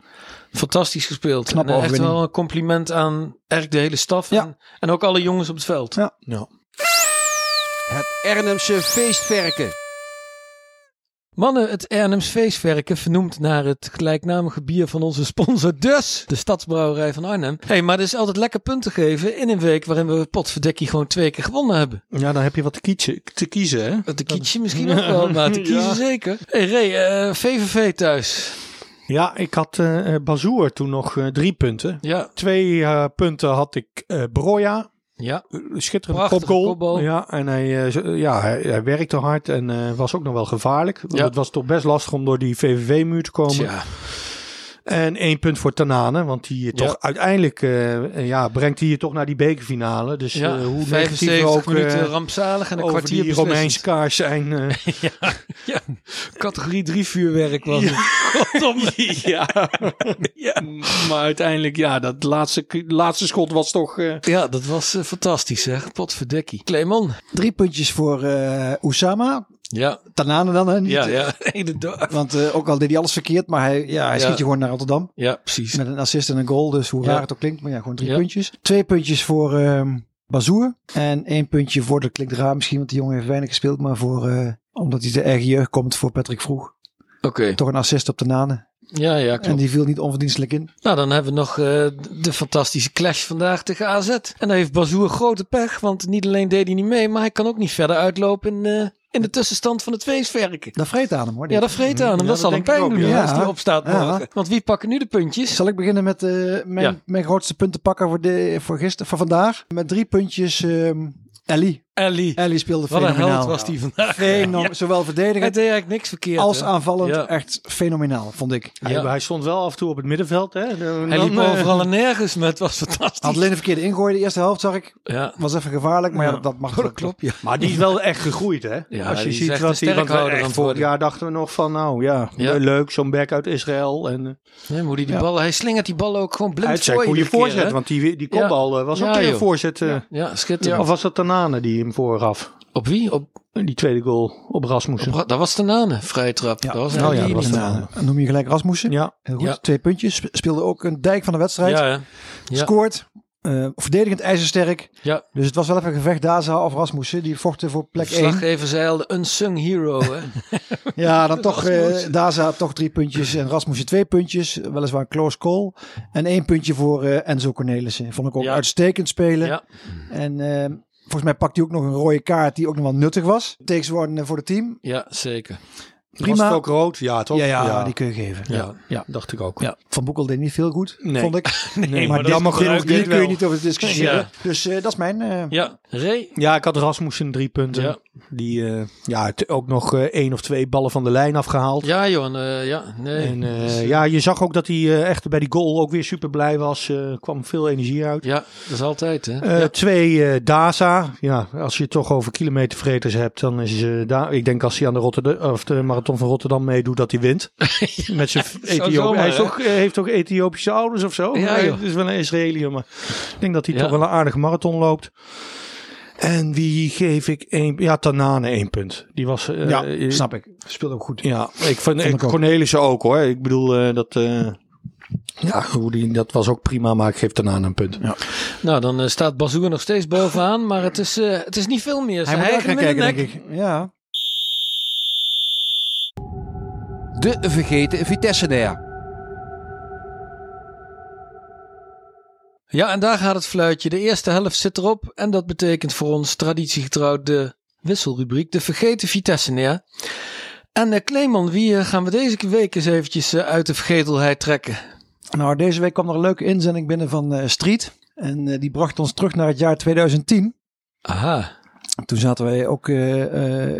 [SPEAKER 1] fantastisch gespeeld.
[SPEAKER 7] Knappe
[SPEAKER 1] en eh, echt
[SPEAKER 7] overwinning.
[SPEAKER 1] wel een compliment aan eigenlijk de hele staf.
[SPEAKER 7] Ja.
[SPEAKER 1] En, en ook alle jongens op het veld.
[SPEAKER 7] Ja.
[SPEAKER 8] Ja.
[SPEAKER 9] Het Ernemse feestwerken.
[SPEAKER 1] Mannen, het Ernems feestwerken, vernoemd naar het gelijknamige bier van onze sponsor Dus, de Stadsbrouwerij van Arnhem. Hé, hey, maar het is altijd lekker punten geven in een week waarin we potverdekkie gewoon twee keer gewonnen hebben.
[SPEAKER 8] ja, dan heb je wat te kiezen, te kiezen hè?
[SPEAKER 1] Te kiezen misschien ook wel, maar te kiezen
[SPEAKER 8] Ja.
[SPEAKER 1] zeker. Hé hey, Ray, eh, VVV thuis.
[SPEAKER 8] Ja, ik had eh eh, Bazoer toen nog eh, drie punten.
[SPEAKER 1] Ja,
[SPEAKER 8] Twee eh, punten had ik eh Broja.
[SPEAKER 1] ja.
[SPEAKER 8] Schitterende
[SPEAKER 1] Prachtige
[SPEAKER 8] kopgoal.
[SPEAKER 1] kopbal.
[SPEAKER 8] Ja, en hij, eh, zo- ja, hij, hij werkte hard en eh, was ook nog wel gevaarlijk. Want
[SPEAKER 1] Ja.
[SPEAKER 8] Het was toch best lastig om door die VVV-muur te komen.
[SPEAKER 1] Tja,
[SPEAKER 8] En één punt voor Tanane, want die eh,
[SPEAKER 1] Ja.
[SPEAKER 8] toch uiteindelijk eh, ja, brengt hij je toch naar die bekerfinale. Dus
[SPEAKER 1] ja.
[SPEAKER 8] eh, hoe negatief
[SPEAKER 1] 75
[SPEAKER 8] ook eh,
[SPEAKER 1] minuten rampzalig en een
[SPEAKER 8] over
[SPEAKER 1] kwartier
[SPEAKER 8] die Romeinse
[SPEAKER 1] beslissend.
[SPEAKER 8] kaars zijn. eh,
[SPEAKER 1] Categorie 3 vuurwerk was het.
[SPEAKER 8] ja. ja, maar uiteindelijk, ja, dat laatste, laatste schot was toch... eh,
[SPEAKER 1] Ja, dat was eh, fantastisch zeg. Potverdekkie. Clemon.
[SPEAKER 7] Drie puntjes voor eh Oussama.
[SPEAKER 1] Ja,
[SPEAKER 7] Tanane dan, hè? Niet, eh,
[SPEAKER 1] ja, ja. Inderdaad.
[SPEAKER 7] Want eh, ook al deed hij alles verkeerd, maar hij, ja, hij
[SPEAKER 1] Ja.
[SPEAKER 7] schiet je gewoon naar Rotterdam.
[SPEAKER 1] Ja, precies.
[SPEAKER 7] Met een assist en een goal, dus hoe
[SPEAKER 1] Ja.
[SPEAKER 7] raar het ook klinkt. Maar ja, gewoon drie
[SPEAKER 1] Ja.
[SPEAKER 7] puntjes. Twee puntjes voor ehm Bazoer. En één puntje voor, dat klinkt raar misschien, want die jongen heeft weinig gespeeld. Maar voor, eh, omdat hij de eigen jeugd komt voor Patrick Vroeg.
[SPEAKER 1] Oké.
[SPEAKER 7] Toch een assist op de Nanen.
[SPEAKER 1] Ja, ja, klopt.
[SPEAKER 7] En die viel niet onverdienstelijk in.
[SPEAKER 1] Nou, dan hebben we nog eh, de fantastische clash vandaag tegen AZ. En daar heeft Bazoer grote pech, want niet alleen deed hij niet mee, maar hij kan ook niet verder uitlopen in, eh, in de tussenstand van het feestwerken.
[SPEAKER 7] Dat vreet aan hem hoor. dit.
[SPEAKER 1] Ja, dat vreet aan hem. dat,
[SPEAKER 8] Hm, dat
[SPEAKER 1] zal hem
[SPEAKER 8] denk ik
[SPEAKER 1] pijn
[SPEAKER 8] ook,
[SPEAKER 1] doen
[SPEAKER 7] ja.
[SPEAKER 1] als hij opstaat
[SPEAKER 7] Ja.
[SPEAKER 1] morgen. Want wie pakken nu de puntjes?
[SPEAKER 7] Zal ik beginnen met eh, mijn,
[SPEAKER 1] Ja.
[SPEAKER 7] mijn grootste punten pakken voor, de, voor, gister, voor vandaag? Met drie puntjes ehm Ellie.
[SPEAKER 1] Ellie.
[SPEAKER 7] Ellie speelde
[SPEAKER 1] Wat een
[SPEAKER 7] fenomenaal.
[SPEAKER 1] held was die vandaag.
[SPEAKER 7] Fenomen- Zowel
[SPEAKER 1] Hij
[SPEAKER 7] verdedigend
[SPEAKER 1] deed eigenlijk niks verkeerd.
[SPEAKER 7] als
[SPEAKER 1] hè?
[SPEAKER 7] aanvallend.
[SPEAKER 1] Ja.
[SPEAKER 7] Echt fenomenaal, vond ik.
[SPEAKER 1] Ja.
[SPEAKER 8] Hij, hij stond wel af en toe op het middenveld. Hè? Dan-
[SPEAKER 1] Hij liep
[SPEAKER 8] eh,
[SPEAKER 1] overal en nergens, maar het was fantastisch.
[SPEAKER 7] Had alleen de verkeerde ingooi de eerste helft, zag ik.
[SPEAKER 1] Ja, Oh,
[SPEAKER 7] Was even gevaarlijk, maar ja, dat, dat mag
[SPEAKER 1] dat klopt. Ja.
[SPEAKER 8] Maar die is wel echt gegroeid, hè?
[SPEAKER 1] Ja,
[SPEAKER 8] Als je
[SPEAKER 1] die is
[SPEAKER 8] ziet
[SPEAKER 1] echt
[SPEAKER 8] wat
[SPEAKER 1] een
[SPEAKER 8] hij... Want wij
[SPEAKER 1] sterkhouder aan
[SPEAKER 8] echt
[SPEAKER 1] het
[SPEAKER 8] vorig
[SPEAKER 1] worden.
[SPEAKER 8] jaar dachten we nog van, nou ja,
[SPEAKER 1] Ja.
[SPEAKER 8] leuk, zo'n back uit Israël. En eh,
[SPEAKER 1] Nee, maar hoe die, die bal, hij slingert die bal ook gewoon blind
[SPEAKER 8] uit zijn
[SPEAKER 1] voor
[SPEAKER 8] goede
[SPEAKER 1] iedere keer,
[SPEAKER 8] voorzet.
[SPEAKER 1] hè?
[SPEAKER 8] want die, die
[SPEAKER 1] Ja.
[SPEAKER 8] kopbal eh, was
[SPEAKER 1] Ja,
[SPEAKER 8] ook weer
[SPEAKER 1] joh.
[SPEAKER 8] een voorzet. eh,
[SPEAKER 1] Ja,
[SPEAKER 8] ja.
[SPEAKER 1] schitterend.
[SPEAKER 8] Of was dat Tanane die hem voorgaf?
[SPEAKER 1] Op wie? Op,
[SPEAKER 8] Die tweede goal op Rasmussen.
[SPEAKER 1] op- dat was de Nane, vrije trap.
[SPEAKER 7] Ja.
[SPEAKER 1] Dat was
[SPEAKER 8] Oh ja,
[SPEAKER 1] eigenlijk
[SPEAKER 8] dat was
[SPEAKER 1] die-
[SPEAKER 8] de
[SPEAKER 7] Nou, dan noem je gelijk Rasmussen.
[SPEAKER 8] ja,
[SPEAKER 7] Heel goed.
[SPEAKER 1] Ja.
[SPEAKER 7] Twee puntjes. Sp- Speelde ook een dijk van de wedstrijd.
[SPEAKER 1] Ja, hè? ja.
[SPEAKER 7] Scoort. Eh, verdedigend ijzersterk.
[SPEAKER 1] Ja.
[SPEAKER 7] Dus het was wel even een gevecht. Daza of Rasmussen. Die vochten voor plek 1.
[SPEAKER 1] Verslaggever zei al, de unsung hero. Hè?
[SPEAKER 7] Ja, dan toch eh
[SPEAKER 1] Rasmussen.
[SPEAKER 7] Daza toch drie puntjes. En Rasmussen twee puntjes. Weliswaar een close call. En één puntje voor eh, Enzo Cornelissen. Vond ik ook
[SPEAKER 1] Ja.
[SPEAKER 7] uitstekend spelen.
[SPEAKER 1] Ja.
[SPEAKER 7] En eh, volgens mij pakte hij ook nog een rode kaart. Die ook nog wel nuttig was. Tegenwoordig eh, voor het team.
[SPEAKER 1] ja, zeker.
[SPEAKER 7] Prima.
[SPEAKER 8] Was het ook rood? Ja, toch?
[SPEAKER 7] Ja, ja, die kun je geven.
[SPEAKER 1] Ja.
[SPEAKER 8] dacht ik ook.
[SPEAKER 7] Ja, Van Boekel deed niet veel goed,
[SPEAKER 8] Nee.
[SPEAKER 7] vond ik.
[SPEAKER 8] Nee,
[SPEAKER 7] maar
[SPEAKER 8] maar
[SPEAKER 7] dit,
[SPEAKER 8] jammer
[SPEAKER 7] dit,
[SPEAKER 8] genoeg
[SPEAKER 7] hier
[SPEAKER 8] dit
[SPEAKER 7] kun je
[SPEAKER 8] wel.
[SPEAKER 7] niet over discussiëren.
[SPEAKER 1] Ja.
[SPEAKER 7] Dus eh, dat is mijn... eh,
[SPEAKER 1] Ja, Ray.
[SPEAKER 8] Ja, ik had Rasmussen drie punten.
[SPEAKER 1] Ja.
[SPEAKER 8] Die eh, ja, het- ook nog eh, één of twee ballen van de lijn afgehaald.
[SPEAKER 1] Ja, Johan. eh, ja, nee.
[SPEAKER 8] En eh, ja, je zag ook dat hij eh, echt bij die goal ook weer super blij was. Eh kwam veel energie uit.
[SPEAKER 1] ja, dat is altijd. Hè?
[SPEAKER 8] Eh, Twee eh Daza. Ja, als je het toch over kilometervreters hebt, dan is eh daar. Ik denk als hij aan de, Rotterdam, of de marathon van Rotterdam meedoet, dat hij wint. Met zijn Ethiopië.
[SPEAKER 1] zomaar,
[SPEAKER 8] hij is
[SPEAKER 1] hè?
[SPEAKER 8] ook, eh, heeft ook Ethiopische ouders of zo.
[SPEAKER 1] Ja,
[SPEAKER 8] hij
[SPEAKER 1] joh.
[SPEAKER 8] is wel een Israëliër, maar ik denk dat hij
[SPEAKER 1] Ja.
[SPEAKER 8] toch wel een aardige marathon loopt. En wie geef ik één? Ja, Tanane één punt. Die was. eh, eh,
[SPEAKER 7] ja, snap ik. Speelt ook goed.
[SPEAKER 8] Ja, ik vond, ik
[SPEAKER 7] ik ook.
[SPEAKER 8] Cornelissen ook hoor. Ik bedoel eh, dat. eh, ja, hoe die, dat was ook prima, maar ik geef Tanane een punt.
[SPEAKER 1] Nou, dan eh, staat Bazoer nog steeds bovenaan, maar het is, eh, het is niet veel meer. Zijn
[SPEAKER 7] Hij moet wel
[SPEAKER 1] eigen
[SPEAKER 7] gaan kijken,
[SPEAKER 1] winnende
[SPEAKER 7] denk ik. Ja.
[SPEAKER 9] De vergeten Vitesse-nair.
[SPEAKER 1] Ja, en daar gaat het fluitje. De eerste helft zit erop. En dat betekent voor ons traditiegetrouw de wisselrubriek. De vergeten Vitesse neer. En eh, Kleeman, wie eh, gaan we deze week eens eventjes eh, uit de vergetelheid trekken?
[SPEAKER 7] Nou, deze week kwam er een leuke inzending binnen van eh, Street. En eh, die bracht ons terug naar het jaar 2010.
[SPEAKER 1] Aha.
[SPEAKER 7] Toen zaten wij ook eh,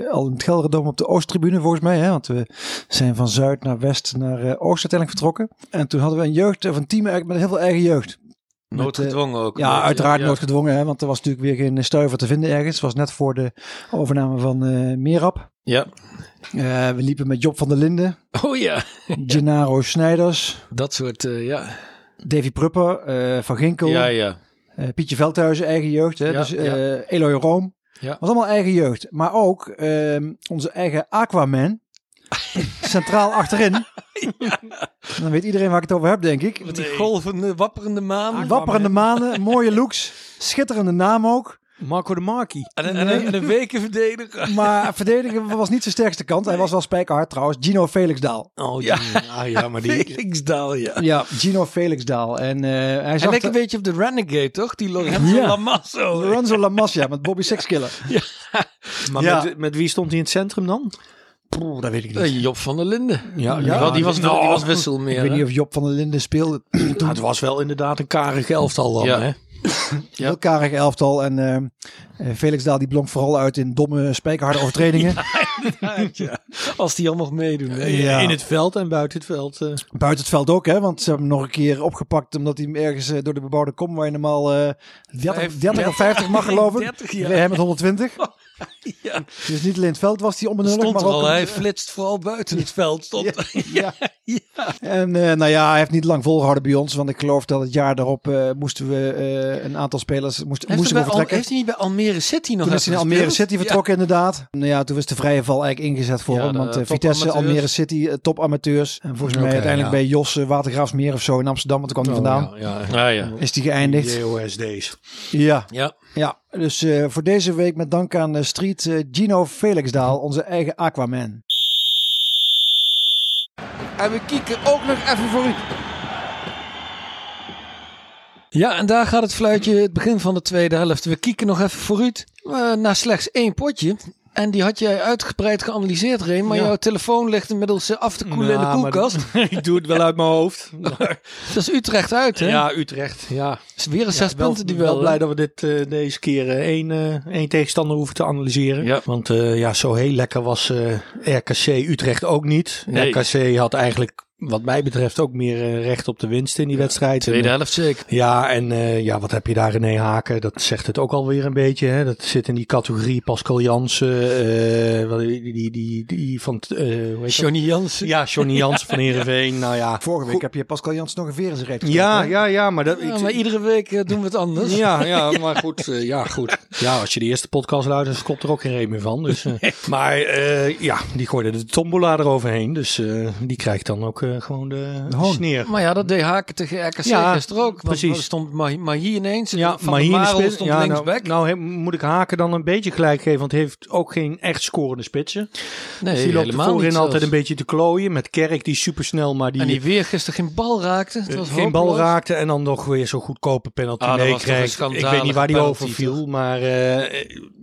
[SPEAKER 7] eh, al in het Gelderdoom op de Oosttribune, volgens mij. Hè? Want we zijn van Zuid naar West naar eh, Oost uiteindelijk vertrokken. En toen hadden we een jeugd of een team eigenlijk met heel veel eigen jeugd. Met, eh,
[SPEAKER 1] Noodgedwongen ook.
[SPEAKER 7] Ja,
[SPEAKER 1] Met, eh,
[SPEAKER 7] uiteraard
[SPEAKER 1] ja.
[SPEAKER 7] nooit gedwongen, hè, want er was natuurlijk weer geen stuiver te vinden ergens. Het was net voor de overname van eh Merap.
[SPEAKER 1] Ja.
[SPEAKER 7] Eh, we liepen met Job van der Linden,
[SPEAKER 1] Oh ja,
[SPEAKER 7] Gennaro Snijders,
[SPEAKER 1] dat soort, eh, ja.
[SPEAKER 7] Davy Prupper, eh, Van Ginkel,
[SPEAKER 1] Ja, ja.
[SPEAKER 7] eh, Pietje Veldhuizen, eigen jeugd. Hè,
[SPEAKER 1] Ja,
[SPEAKER 7] dus eh,
[SPEAKER 1] ja.
[SPEAKER 7] Eloy Room.
[SPEAKER 1] Ja.
[SPEAKER 7] was allemaal eigen jeugd. Maar ook ehm, onze eigen Aquaman. Centraal achterin. Dan weet iedereen waar ik het over heb, denk ik.
[SPEAKER 1] Met die golvende, wapperende maan.
[SPEAKER 7] Wapperende manen, mooie looks, schitterende naam ook.
[SPEAKER 8] Marco de Marki.
[SPEAKER 1] En, een- en, een- en een wekenverdediger.
[SPEAKER 7] Maar verdedigen was niet zijn sterkste kant. Hij was wel spijkerhard trouwens. Gino Felixdaal.
[SPEAKER 8] Oh die-
[SPEAKER 1] Ja.
[SPEAKER 8] ah, ja, maar die.
[SPEAKER 1] Felixdaal, ja.
[SPEAKER 7] Ja, Gino Felixdaal. En eh, hij
[SPEAKER 1] Hij
[SPEAKER 7] zag
[SPEAKER 1] lijkt een
[SPEAKER 7] de-
[SPEAKER 1] beetje op de Renegade, toch? Die Lorenzo
[SPEAKER 7] Ja.
[SPEAKER 1] Lamasso.
[SPEAKER 7] Lorenzo Lamassia met Bobby Sexkiller.
[SPEAKER 8] Maar
[SPEAKER 7] Ja.
[SPEAKER 8] met, met wie stond hij in het centrum dan?
[SPEAKER 7] Poeh, dat weet ik niet.
[SPEAKER 1] Eh, Job van der Linden.
[SPEAKER 8] Ja,
[SPEAKER 1] Ja, die was,
[SPEAKER 8] nou,
[SPEAKER 1] die was wissel
[SPEAKER 7] Ik
[SPEAKER 1] meer.
[SPEAKER 7] weet
[SPEAKER 1] hè?
[SPEAKER 7] niet of Job van der Linden speelde.
[SPEAKER 8] nou, het was wel inderdaad een karig elftal dan.
[SPEAKER 1] Ja.
[SPEAKER 8] Hè?
[SPEAKER 1] Ja.
[SPEAKER 7] Heel karig elftal. En ehm, eh, Felixdaal die blonk vooral uit in domme spijkerharde overtredingen.
[SPEAKER 1] Als die al mag meedoen. hè?
[SPEAKER 7] Ja.
[SPEAKER 8] In het veld en buiten het veld. eh.
[SPEAKER 7] Buiten het veld ook, hè? Want ze hebben hem nog een keer opgepakt. omdat hij hem ergens eh, door de bebouwde kom. waar je normaal eh 30,
[SPEAKER 1] Vijf-
[SPEAKER 7] 30 of 50 mag geloven.
[SPEAKER 1] 30, ja.
[SPEAKER 7] Reed hij met 120.
[SPEAKER 1] Ja.
[SPEAKER 7] Dus niet alleen het veld was hij onbenullig.
[SPEAKER 1] Stond er
[SPEAKER 7] maar ook
[SPEAKER 1] al,
[SPEAKER 7] een-
[SPEAKER 1] hij flitst vooral buiten het veld. Stond.
[SPEAKER 7] Ja. En eh, nou ja, hij heeft niet lang volgehouden bij ons. Want ik geloof dat het jaar daarop eh, moesten we eh, een aantal spelers moesten,
[SPEAKER 1] Heeft,
[SPEAKER 7] moesten
[SPEAKER 1] hij
[SPEAKER 7] we
[SPEAKER 1] bij Al-
[SPEAKER 7] vertrekken.
[SPEAKER 1] heeft hij niet bij Almere City nog
[SPEAKER 7] Toen is
[SPEAKER 1] even
[SPEAKER 7] hij naar Almere
[SPEAKER 1] gespeeld?
[SPEAKER 7] City vertrokken inderdaad. Nou ja, toen is de vrije val eigenlijk ingezet voor
[SPEAKER 1] Ja,
[SPEAKER 7] hem.
[SPEAKER 1] de
[SPEAKER 7] Want eh,
[SPEAKER 1] topamateurs.
[SPEAKER 7] Vitesse, Almere City, eh, topamateurs. En volgens mij
[SPEAKER 8] Oké,
[SPEAKER 7] uiteindelijk
[SPEAKER 8] ja.
[SPEAKER 7] bij Jos eh, Watergraafsmeer of zo in Amsterdam. Want daar kwam hij vandaan.
[SPEAKER 8] Oh, ja, ja.
[SPEAKER 1] Ja. Ah, ja.
[SPEAKER 7] Is die geëindigd.
[SPEAKER 8] JOSD's.
[SPEAKER 7] Ja,
[SPEAKER 1] Ja.
[SPEAKER 7] ja. dus eh, voor deze week met dank aan eh, Street eh, Gino Felixdaal, onze eigen Aquaman.
[SPEAKER 9] En we kieken ook nog even voor u.
[SPEAKER 1] ja, en daar gaat het fluitje het begin van de tweede helft. We kieken nog even vooruit eh, naar slechts één potje. En die had jij uitgebreid geanalyseerd, Reem. Maar
[SPEAKER 8] Ja.
[SPEAKER 1] jouw telefoon ligt inmiddels eh, af te koelen
[SPEAKER 8] Nou,
[SPEAKER 1] in de
[SPEAKER 8] maar-
[SPEAKER 1] koelkast.
[SPEAKER 8] ik doe het wel uit mijn hoofd.
[SPEAKER 1] Dat is Utrecht uit, hè?
[SPEAKER 8] ja, Utrecht. Ja.
[SPEAKER 1] Is weer een zes punten die wel.
[SPEAKER 8] wel blij dat we dit, eh, deze keer eh, één, eh, één tegenstander hoeven te analyseren.
[SPEAKER 1] Ja.
[SPEAKER 8] Want eh, ja, zo heel lekker was eh, RKC Utrecht ook niet.
[SPEAKER 1] Nee.
[SPEAKER 8] RKC had eigenlijk wat mij betreft ook meer eh, recht op de winst in die wedstrijd.
[SPEAKER 1] Tweede
[SPEAKER 8] En, eh,
[SPEAKER 1] helft zeker.
[SPEAKER 8] ja, en eh, ja, wat heb je daar René Haken? Dat zegt het ook alweer een beetje. Hè? Dat zit in die categorie Pascal Jansen, eh, wat- die, die, die, die van... eh, hoe heet dat?
[SPEAKER 1] Johnny Jansen.
[SPEAKER 8] Ja, Johnny Jansen van Heerenveen. Nou ja.
[SPEAKER 7] Vorige week heb je Pascal Jans nog een veer in zijn reet
[SPEAKER 8] Ja, ja, ja, maar dat...
[SPEAKER 1] Ja,
[SPEAKER 8] ik-
[SPEAKER 1] maar iedere week eh, doen we het anders.
[SPEAKER 8] Ja, ja, maar goed, eh, ja, goed. Ja, als je de eerste podcast luistert, klopt er ook geen reet meer van. Dus, eh, maar eh, ja, die gooide de tombola eroverheen. Dus eh, die krijgt dan ook eh, gewoon de,
[SPEAKER 7] De hoon.
[SPEAKER 8] sneer.
[SPEAKER 1] Maar ja, dat deed Haken tegen RKC
[SPEAKER 8] Ja,
[SPEAKER 1] gisteren ook. Want
[SPEAKER 8] precies.
[SPEAKER 1] er stond Mahi Mahi ineens.
[SPEAKER 8] Ja,
[SPEAKER 1] van
[SPEAKER 8] maar
[SPEAKER 1] de
[SPEAKER 8] hier in de
[SPEAKER 1] Marel
[SPEAKER 8] spits.
[SPEAKER 1] stond
[SPEAKER 8] ja, nou,
[SPEAKER 1] linksback.
[SPEAKER 8] nou he- moet ik Haken dan een beetje gelijk geven, want hij heeft ook geen echt scorende spitsen.
[SPEAKER 1] nee,
[SPEAKER 8] dus die loopt er
[SPEAKER 1] helemaal
[SPEAKER 8] voorin
[SPEAKER 1] niet
[SPEAKER 8] altijd een
[SPEAKER 1] zelfs.
[SPEAKER 8] beetje te klooien. Met Kerk die supersnel, maar die,
[SPEAKER 1] En die weer gisteren geen bal raakte. Het
[SPEAKER 8] eh,
[SPEAKER 1] was
[SPEAKER 8] geen bal
[SPEAKER 1] hopeloos.
[SPEAKER 8] raakte en dan nog weer zo'n goedkope penalty
[SPEAKER 1] Ah, dat was toch een
[SPEAKER 8] meekrijgt. Ik weet niet
[SPEAKER 1] schandalige
[SPEAKER 8] waar die
[SPEAKER 1] penalty,
[SPEAKER 8] over viel, maar eh